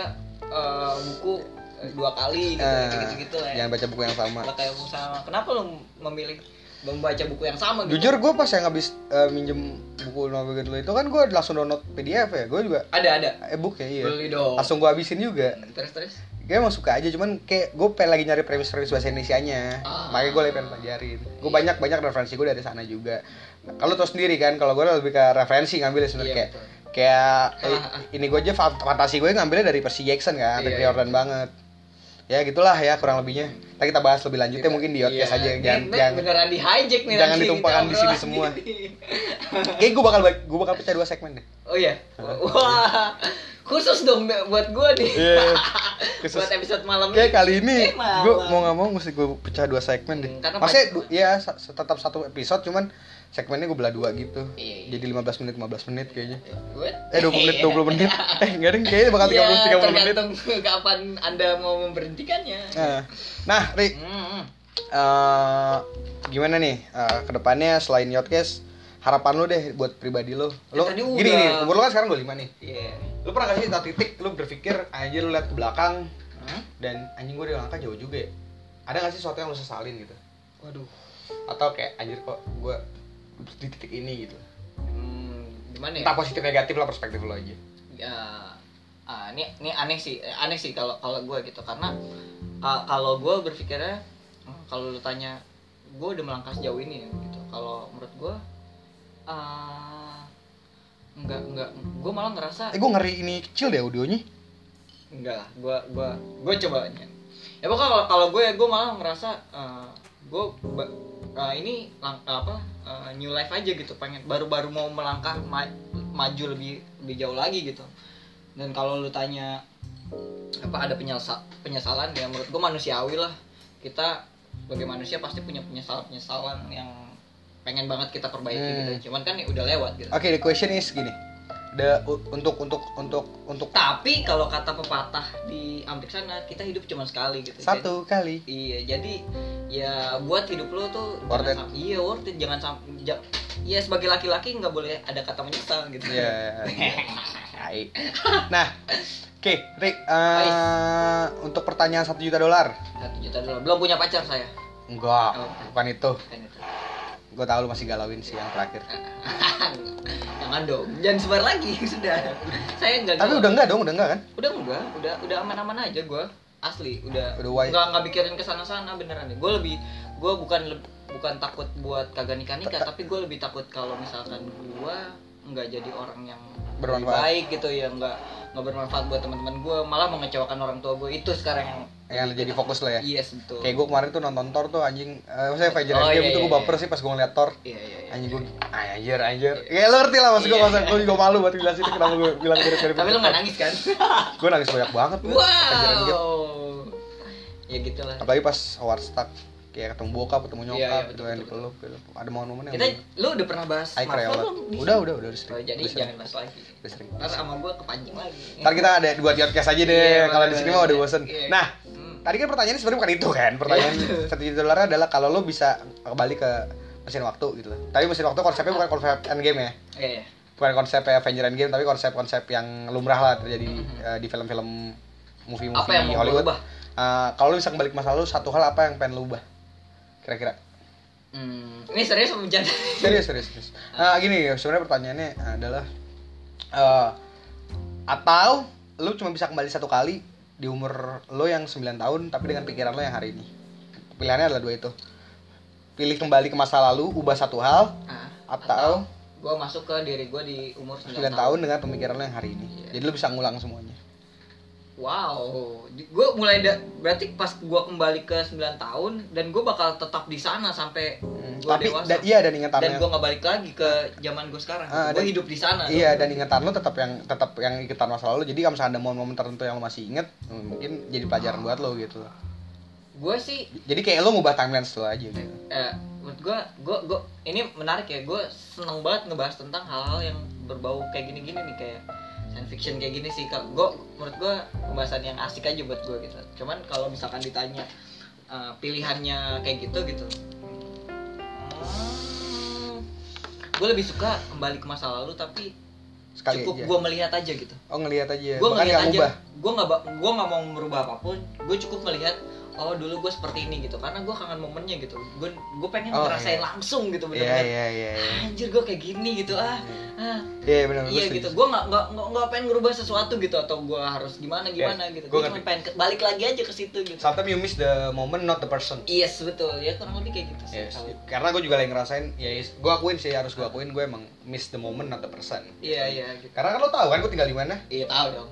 Speaker 2: eh, buku eh, dua kali gitu,
Speaker 1: Eh,
Speaker 2: gitu gitu lah. Ya.
Speaker 1: jangan baca buku yang sama
Speaker 2: Baca yang sama. Kenapa lu memilih membaca buku yang sama gitu?
Speaker 1: jujur gue pas yang habis eh, minjem buku novel dulu itu kan gue langsung download PDF ya gue juga
Speaker 2: Ada ada.
Speaker 1: e-book ya iya
Speaker 2: Beli dong.
Speaker 1: langsung gue habisin juga
Speaker 2: Terus terus.
Speaker 1: gue emang suka aja cuman kayak gue pengen lagi nyari premis-premis bahasa Indonesianya
Speaker 2: Ah. Iya.
Speaker 1: makanya gue lagi pengen pelajarin gue banyak banyak referensi gue dari sana juga kalau tau sendiri kan kalau gue lebih ke referensi ngambil sebenarnya
Speaker 2: Iya,
Speaker 1: kayak
Speaker 2: betul.
Speaker 1: kayak eh, ini gue aja fa- fantasi gue ngambilnya dari Percy Jackson kan dari
Speaker 2: Iya, iya.
Speaker 1: Jordan banget ya gitulah ya kurang lebihnya Ntar kita bahas lebih
Speaker 2: Iya.
Speaker 1: lanjutnya mungkin di podcast aja
Speaker 2: Ini-
Speaker 1: jangan
Speaker 2: Gitu. ini
Speaker 1: jangan
Speaker 2: beneran di hijack nih
Speaker 1: jangan
Speaker 2: nanti kita
Speaker 1: ditumpahkan di sini
Speaker 2: obrolan
Speaker 1: semua.
Speaker 2: ini.
Speaker 1: kayak gue bakal gue bakal pecah dua segmen deh
Speaker 2: Oh iya. Wah. Khusus dong be- buat gua nih.
Speaker 1: Iya, khusus.
Speaker 2: buat episode malam
Speaker 1: Oke
Speaker 2: ini.
Speaker 1: kali ini
Speaker 2: Eh, malam.
Speaker 1: gue mau nggak mau mesti gue pecah dua segmen deh.
Speaker 2: Hmm, karena
Speaker 1: Maksudnya
Speaker 2: pan-
Speaker 1: du- ya sa- tetap satu episode cuman segmennya gue belah dua gitu.
Speaker 2: Iya, iya.
Speaker 1: Jadi 15 menit 15 menit kayaknya.
Speaker 2: Gua-
Speaker 1: Eh 20 menit 20 menit. Eh enggak deh kayaknya bakal 30
Speaker 2: Iya,
Speaker 1: 30 menit.
Speaker 2: tergantung kapan Anda mau memberhentikannya.
Speaker 1: Nah, Nah, Ri,
Speaker 2: Hmm.
Speaker 1: eh, gimana nih eh, kedepannya selain Yodcast harapan lu deh buat pribadi lu lu
Speaker 2: Ya, tadi
Speaker 1: gini
Speaker 2: udah.
Speaker 1: nih umur lu kan sekarang 25 nih
Speaker 2: Iya.
Speaker 1: lu pernah gak sih satu titik lu berpikir anjir lu lihat ke belakang
Speaker 2: Hah?
Speaker 1: dan anjing gue di langkah jauh juga ya ada gak sih sesuatu yang lu sesalin gitu
Speaker 2: Waduh.
Speaker 1: atau kayak anjir kok gue di titik ini gitu
Speaker 2: Hmm, gimana ya?
Speaker 1: entah positif negatif lah perspektif lo aja
Speaker 2: ya ah, ini ini aneh sih eh, aneh sih kalau kalau gue gitu karena ka- kalau gue berpikirnya hmm, kalau lu tanya gue udah melangkah sejauh ini ya, gitu kalau menurut gue ah nggak nggak gue malah ngerasa
Speaker 1: eh gue ngeri ini kecil deh audionya
Speaker 2: enggak lah gue gue gue coba ya pokoknya kalau kalau gue gue malah ngerasa eh, gue ba- eh, ini lang- apa eh, new life aja gitu pengen baru-baru mau melangkah ma- maju lebih lebih jauh lagi gitu dan kalau lu tanya apa ada penyesa- penyesalan ya menurut gue manusiawi lah kita sebagai manusia pasti punya penyesalan penyesalan yang pengen banget kita perbaiki
Speaker 1: Hmm.
Speaker 2: gitu cuman kan ya udah lewat gitu
Speaker 1: oke the question is gini the u- untuk untuk untuk untuk
Speaker 2: tapi kalau kata pepatah di Amerika sana kita hidup cuma sekali gitu Jadi-
Speaker 1: satu kali
Speaker 2: Iya, jadi ya buat hidup lo tuh
Speaker 1: Worth
Speaker 2: jangan sam- iya worth it, jangan sampai ya sebagai laki-laki nggak boleh ada kata menyesal gitu.
Speaker 1: Iya. iya. Hai. Nah, oke, Rik, eh, untuk pertanyaan satu juta dolar.
Speaker 2: Satu juta dolar belum punya pacar saya.
Speaker 1: Enggak,
Speaker 2: Oh.
Speaker 1: bukan itu.
Speaker 2: Kan itu.
Speaker 1: Gue tahu lu masih galauin sih yang terakhir.
Speaker 2: jangan dong, jangan sebar lagi sudah. Saya nggak. gitu.
Speaker 1: Tapi udah enggak dong, udah enggak kan?
Speaker 2: udah enggak, udah udah aman-aman aja gue asli udah
Speaker 1: Udah wise.
Speaker 2: nggak nggak mikirin kesana sana beneran deh gue lebih gue bukan leb- bukan takut buat kagak nikah nikah tapi gue lebih takut kalau misalkan gue nggak jadi orang yang
Speaker 1: Bermanfaat.
Speaker 2: baik gitu ya nggak nggak bermanfaat buat teman-teman gue malah mengecewakan orang tua gue itu sekarang yang
Speaker 1: Yang jadi fokus lo ya.
Speaker 2: yes betul
Speaker 1: Kayak gue kemarin tuh nonton Thor tuh anjing, eh, maksudnya Avengers
Speaker 2: Oh,
Speaker 1: Endgame
Speaker 2: iya,
Speaker 1: tuh gue
Speaker 2: iya,
Speaker 1: baper sih pas gue ngeliat Thor.
Speaker 2: iya iya iya
Speaker 1: Anjing gue, anjir, anjir. Ya lo ngerti lah maksud gue,
Speaker 2: Iya.
Speaker 1: maksud gue juga malu buat jelasin kenapa gue bilang mirip-mirip.
Speaker 2: tapi lu nggak nangis kan
Speaker 1: Gue nangis banyak banget. gua, Avengers Endgame.
Speaker 2: wow ya gitulah
Speaker 1: Apalagi pas Howard Stark kayak ketemu bokap, ketemu
Speaker 2: Iya,
Speaker 1: nyokap,
Speaker 2: iya,
Speaker 1: gitu
Speaker 2: betul,
Speaker 1: kan
Speaker 2: betul,
Speaker 1: dipeluk gitu. Ada momen-momen yang
Speaker 2: kita lu udah pernah bahas
Speaker 1: Hai
Speaker 2: Marvel
Speaker 1: Crayola.
Speaker 2: belum di
Speaker 1: Udah, udah, udah, udah
Speaker 2: Oh,
Speaker 1: sering.
Speaker 2: jadi
Speaker 1: Udah sering.
Speaker 2: jangan bahas lagi.
Speaker 1: Udah sering.
Speaker 2: Ntar sama gue kepancing lagi.
Speaker 1: Ntar kita ada dua podcast aja deh.
Speaker 2: Iya,
Speaker 1: kalau di sini mah udah
Speaker 2: iya.
Speaker 1: bosen.
Speaker 2: Iya.
Speaker 1: Nah,
Speaker 2: Hmm.
Speaker 1: tadi kan pertanyaannya sebenarnya bukan itu kan. Pertanyaan
Speaker 2: Iya.
Speaker 1: satu juta dolarnya adalah kalau lo bisa kembali ke mesin waktu gitu loh. Tapi mesin waktu konsepnya bukan konsep endgame ya.
Speaker 2: Iya, iya.
Speaker 1: Bukan konsep Avenger Endgame tapi konsep-konsep yang lumrah lah terjadi eh, di film-film movie-movie
Speaker 2: Hmm. Apa yang mau
Speaker 1: Hollywood.
Speaker 2: berubah?
Speaker 1: Eh, kalau lo bisa kembali ke masa lalu, satu hal apa yang pengen lo ubah? Kira-kira.
Speaker 2: Hmm, ini serius apa bercanda?
Speaker 1: serius serius serius
Speaker 2: Hmm.
Speaker 1: nah gini sebenarnya pertanyaannya adalah eh, atau lu cuma bisa kembali satu kali di umur lo yang 9 tahun tapi dengan pikiran lo yang hari ini pilihannya adalah dua itu pilih kembali ke masa lalu ubah satu hal
Speaker 2: Ah,
Speaker 1: atau
Speaker 2: gue masuk ke diri gue di umur 9,
Speaker 1: 9 tahun dengan pemikiran lo yang hari ini
Speaker 2: Iya.
Speaker 1: jadi lo bisa ngulang semuanya
Speaker 2: Wow, gue mulai da- berarti pas gue kembali ke 9 tahun dan gue bakal tetap di sana sampai
Speaker 1: Hmm,
Speaker 2: gue
Speaker 1: tapi
Speaker 2: dewasa.
Speaker 1: da- iya dan
Speaker 2: dan
Speaker 1: ingatannya
Speaker 2: gue nggak balik lagi ke zaman gue sekarang.
Speaker 1: Ah,
Speaker 2: gue
Speaker 1: dan-
Speaker 2: hidup di sana. dong.
Speaker 1: Iya dan ingatan lo tetap yang tetap yang ingatan masa lalu. Jadi kalau misalnya ada momen-momen tertentu yang lo masih inget, mungkin jadi pelajaran buat lo gitu.
Speaker 2: Gue sih
Speaker 1: Jadi kayak lo ngubah timeline lo aja gitu.
Speaker 2: eh, menurut gue, gue, gue, ini menarik ya. Gue seneng banget ngebahas tentang hal-hal yang berbau kayak gini-gini nih kayak science fiction kayak gini sih. Kalau gue, menurut gue pembahasan yang asik aja buat gue gitu. Cuman kalau misalkan ditanya eh, pilihannya kayak gitu gitu, gue lebih suka kembali ke masa lalu tapi
Speaker 1: Sekali
Speaker 2: cukup
Speaker 1: aja.
Speaker 2: gue melihat aja gitu.
Speaker 1: Oh ngelihat aja.
Speaker 2: gue
Speaker 1: Bahkan
Speaker 2: ngelihat
Speaker 1: nggak
Speaker 2: aja
Speaker 1: ngubah.
Speaker 2: gue nggak ba- gua nggak mau merubah apapun gue cukup melihat oh dulu gue seperti ini gitu karena gue kangen momennya gitu gue gue pengen
Speaker 1: Oh, iya.
Speaker 2: ngerasain langsung gitu
Speaker 1: Iya
Speaker 2: bener-bener
Speaker 1: iya iya. iya.
Speaker 2: anjir gue kayak gini gitu ah ah
Speaker 1: Iya benar
Speaker 2: iya gitu gue nggak nggak nggak- nggak pengen ngerubah sesuatu gitu atau gue harus gimana gimana
Speaker 1: Iya,
Speaker 2: gitu
Speaker 1: gua
Speaker 2: gue cuma
Speaker 1: ngerti.
Speaker 2: pengen ke- balik lagi aja ke situ gitu
Speaker 1: Sometimes you miss the moment not the person.
Speaker 2: yes betul ya kurang lebih kayak gitu sih
Speaker 1: Yes.
Speaker 2: kalau-
Speaker 1: Karena gue juga lagi ngerasain, ya yes, gue akuin sih harus gue akuin gue emang miss the moment not the person.
Speaker 2: iya iya gitu
Speaker 1: Karena kan lo tau kan gue tinggal di mana?
Speaker 2: iya tahu dong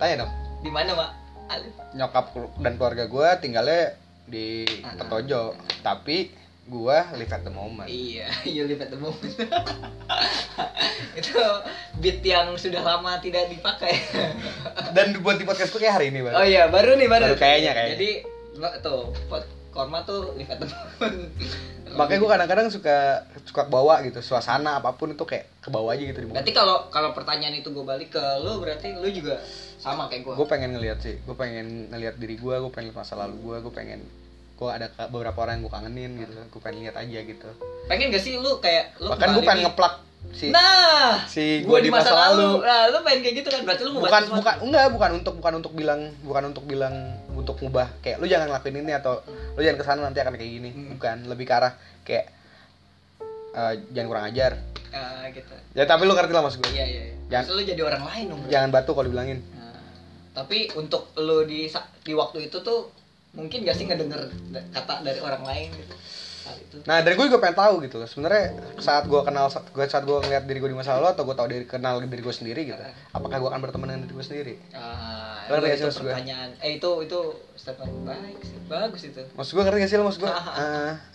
Speaker 1: Tanya dong.
Speaker 2: di mana mak Alif
Speaker 1: Nyokap dan keluarga gue tinggalnya di Petojo, tapi gua live at the moment
Speaker 2: Iya, you live at the moment. itu beat yang sudah lama tidak dipakai.
Speaker 1: dan buat di podcast gua kayak hari ini baru
Speaker 2: oh iya, baru nih baru.
Speaker 1: Baru kayaknya, kayaknya.
Speaker 2: Jadi lo- tuh pot korma tuh live at the moment.
Speaker 1: makanya gua kadang-kadang suka suka bawa gitu suasana apapun itu kayak ke bawah aja gitu di
Speaker 2: Berarti kalau kalau pertanyaan itu gue balik ke lu berarti lu juga sama kayak gue.
Speaker 1: gue pengen ngelihat sih gue pengen ngelihat diri gue gue pengen lihat masa lalu gue gue pengen gue ada ke- beberapa orang yang gue kangenin gitu gue pengen lihat aja gitu
Speaker 2: Pengen gak sih lu kayak lu
Speaker 1: bahkan gue
Speaker 2: kembali
Speaker 1: pengen
Speaker 2: nih-
Speaker 1: ngeplak si
Speaker 2: Nah,
Speaker 1: si gua
Speaker 2: gua
Speaker 1: di masa lalu.
Speaker 2: Nah, lu pengen kayak gitu kan? Berarti lu mau
Speaker 1: bukan
Speaker 2: sesuatu.
Speaker 1: bukan enggak bukan untuk bukan untuk bilang bukan untuk bilang untuk ngubah kayak lu jangan ngelakuin ini atau lu jangan kesana nanti akan kayak gini
Speaker 2: Hmm.
Speaker 1: bukan lebih ke arah kayak eh, jangan kurang ajar
Speaker 2: Ah, gitu.
Speaker 1: ya tapi lu ngerti lah maksud gue
Speaker 2: Iya, iya. iya.
Speaker 1: Jangan-
Speaker 2: Terus lu jadi orang lain dong. bro.
Speaker 1: jangan batu kalau dibilangin
Speaker 2: Nah, tapi untuk lu di sa- di waktu itu tuh mungkin gak sih ngedenger da- kata dari orang lain gitu saat itu.
Speaker 1: Nah, dari gue juga pengen tahu gitu loh. Sebenarnya saat gue kenal saat gue saat gue ngeliat diri gue di masa lalu atau gue tahu diri kenal diri gue sendiri gitu. Apakah gue akan berteman dengan diri gue sendiri?
Speaker 2: Ah,
Speaker 1: Lu ngerti
Speaker 2: itu, itu
Speaker 1: maksud ya, gue?
Speaker 2: pertanyaan. Eh itu itu statement baik sih. Bagus itu.
Speaker 1: Maksud gue ngerti gak sih lo maksud gue? Eh,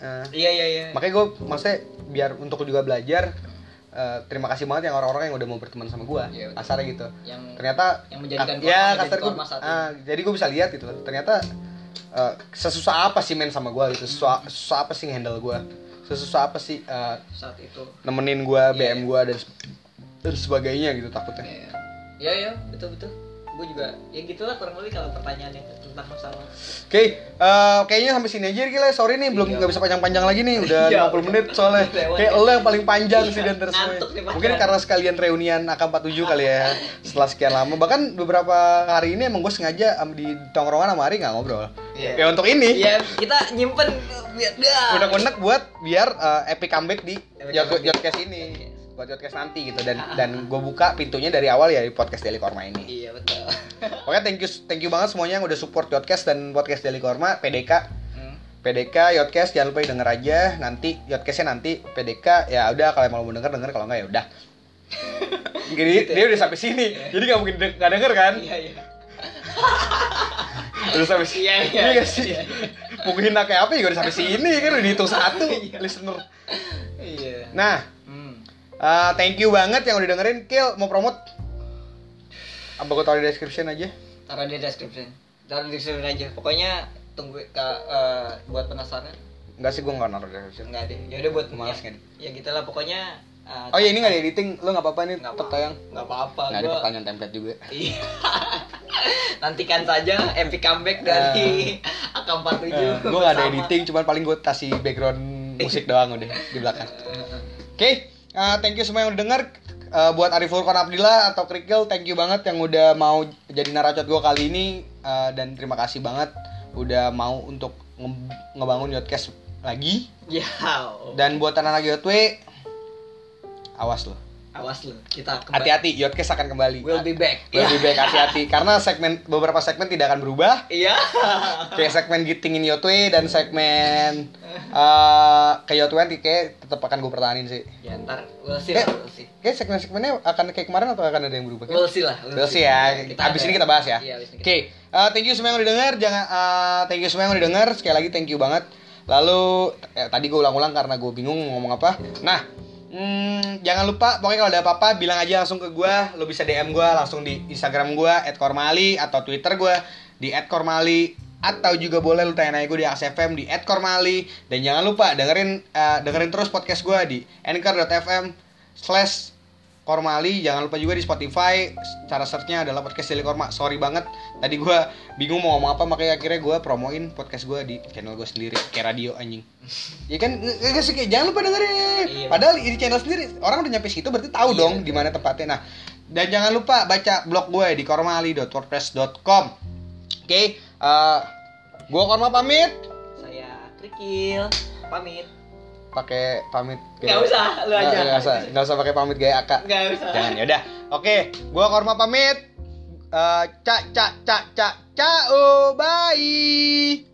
Speaker 1: eh.
Speaker 2: Iya, iya, iya.
Speaker 1: Makanya gue maksudnya biar untuk juga belajar eh, terima kasih banget yang orang-orang yang udah mau berteman sama gue.
Speaker 2: Iya, betul.
Speaker 1: Kasarnya gitu.
Speaker 2: Yang
Speaker 1: Ternyata
Speaker 2: yang menjadikan
Speaker 1: Ah, ya
Speaker 2: korma
Speaker 1: kasar
Speaker 2: menjadi
Speaker 1: gue
Speaker 2: korma saat
Speaker 1: ah, jadi gue bisa lihat gitu loh ternyata eh, sesusah apa sih main sama gue gitu sesusah, sesusah apa sih handle gue sesusah apa sih eh,
Speaker 2: itu. Saat itu.
Speaker 1: nemenin gue
Speaker 2: Iya,
Speaker 1: BM gue dan se- dan sebagainya gitu takutnya
Speaker 2: Iya, iya. Iya, betul betul. Gue juga ya gitulah kurang lebih kalau pertanyaannya tentang masalah.
Speaker 1: Oke, eh, kayaknya sampai sini aja gila. Sorry nih, belum nggak bisa panjang-panjang lagi nih. Udah
Speaker 2: Iya,
Speaker 1: 50
Speaker 2: udah.
Speaker 1: menit soalnya.
Speaker 2: Lewat
Speaker 1: Kayak
Speaker 2: ya.
Speaker 1: lo yang paling panjang sih
Speaker 2: Iya,
Speaker 1: dan terus semuanya.
Speaker 2: ngantuk nih, Pak.
Speaker 1: Mungkin karena sekalian reunian AK47 kali ya. Setelah sekian lama, bahkan beberapa hari ini emang gue sengaja am- di tongkrongan sama Ari nggak ngobrol.
Speaker 2: Iya.
Speaker 1: Ya untuk ini.
Speaker 2: Iya, kita nyimpen biar dah.
Speaker 1: unek-unek buat biar uh, epic comeback di
Speaker 2: Epic
Speaker 1: Yot-
Speaker 2: comeback.
Speaker 1: Yotcast ini buat Yotcast nanti gitu dan dan gue buka pintunya dari awal ya di podcast Daily Korma ini
Speaker 2: Iya, betul.
Speaker 1: oke thank you thank you banget semuanya yang udah support Yotcast dan podcast Daily Korma PDK
Speaker 2: Hmm.
Speaker 1: PDK Yotcast jangan lupa denger aja nanti Yotcastnya nanti PDK ya udah kalau emang mau denger denger kalau nggak ya udah jadi
Speaker 2: Gitu ya.
Speaker 1: dia udah sampai sini jadi nggak mungkin de- nggak denger kan
Speaker 2: Iya, iya.
Speaker 1: udah sampai sini
Speaker 2: Iya, iya,
Speaker 1: Iya nggak sih
Speaker 2: iya,
Speaker 1: mungkin nak kayak apa juga udah sampai sini kan udah dihitung satu listener
Speaker 2: Iya.
Speaker 1: nah
Speaker 2: Hmm.
Speaker 1: eh, thank you banget yang udah dengerin Kill mau promote apa gue taruh di description aja
Speaker 2: Taruh di description. Taruh di description aja. Pokoknya tunggu ka, eh, buat penasaran.
Speaker 1: nggak sih gue nggak naruh di description
Speaker 2: Enggak deh. Ya udah buat
Speaker 1: Malas
Speaker 2: ya,
Speaker 1: ngedit.
Speaker 2: ya gitu lah pokoknya eh,
Speaker 1: oh ya ini nggak di editing lo nggak apa-apa nih
Speaker 2: nggak apa-
Speaker 1: tetap tayang
Speaker 2: Nggak apa-apa.
Speaker 1: nggak ada
Speaker 2: gua-
Speaker 1: pertanyaan template juga
Speaker 2: Iya. Nantikan saja epic comeback dari AK47.
Speaker 1: Eh, gue gak ada
Speaker 2: bersama.
Speaker 1: editing, cuman paling gue kasih background musik doang udah di belakang. Oke, eh, thank you semua yang udah denger. Eh, buat Ariful Kon Abdillah atau Krikil, thank you banget yang udah mau jadi naracot gue kali ini. Eh, dan terima kasih banget udah mau untuk nge- ngebangun Yotcast lagi.
Speaker 2: Ya.
Speaker 1: Dan buat anak-anak Yotwe, awas loh.
Speaker 2: Awas lu. Kita kembali.
Speaker 1: Hati-hati, Yotcast akan kembali. Iya.
Speaker 2: We'll be back.
Speaker 1: We'll be back, hati-hati. Karena segmen beberapa segmen tidak akan berubah.
Speaker 2: Iya.
Speaker 1: kayak segmen gitingin Yotwe dan segmen eh ke Yotwe nanti kayak tetap akan gue pertahanin sih.
Speaker 2: Ya ntar we'll see,
Speaker 1: Eh.
Speaker 2: lah, we'll see.
Speaker 1: Kayak segmen-segmennya akan kayak kemarin atau akan ada yang berubah?
Speaker 2: We'll see lah.
Speaker 1: Terus ya, abis
Speaker 2: ada-
Speaker 1: ini kita bahas ya.
Speaker 2: Iya, abis ini
Speaker 1: Oke,
Speaker 2: kita-
Speaker 1: eh, thank you semua yang udah denger. Jangan, eh, thank you semua yang udah denger. Sekali lagi thank you banget. Lalu eh, tadi gue ulang-ulang karena gue bingung mau ngomong apa. Nah, hmm, jangan lupa pokoknya kalau ada apa-apa bilang aja langsung ke gue. Lo bisa DM gue langsung di Instagram gue @kormali atau Twitter gue di @kormali atau juga boleh lu tanya gue di AXFM di @kormali dan jangan lupa dengerin eh, dengerin terus podcast gue di anchor.fm slash Kormali jangan lupa juga di Spotify cara searchnya adalah podcast Daily Korma sorry banget tadi gua bingung mau ngomong apa makanya akhirnya gua promoin podcast gua di channel gua sendiri kayak radio anjing ya kan nge- nge- nggak sih kayak jangan lupa dengerin
Speaker 2: Iya.
Speaker 1: padahal di channel sendiri orang udah nyampe situ berarti tahu
Speaker 2: Iya,
Speaker 1: dong
Speaker 2: betul.
Speaker 1: di mana tempatnya nah dan jangan lupa baca blog gue di kormali.wordpress.com oke eh, gua Korma pamit
Speaker 2: Saya Krikil. Pamit.
Speaker 1: pakai pamit
Speaker 2: Nggak usah, lu aja.
Speaker 1: Nggak- nggak usah nggak usah pakai pamit gaya akak
Speaker 2: Enggak usah.
Speaker 1: Jangan ya udah. Oke, gua Korma pamit. Eh, cak cak cak cak cak oh, bye.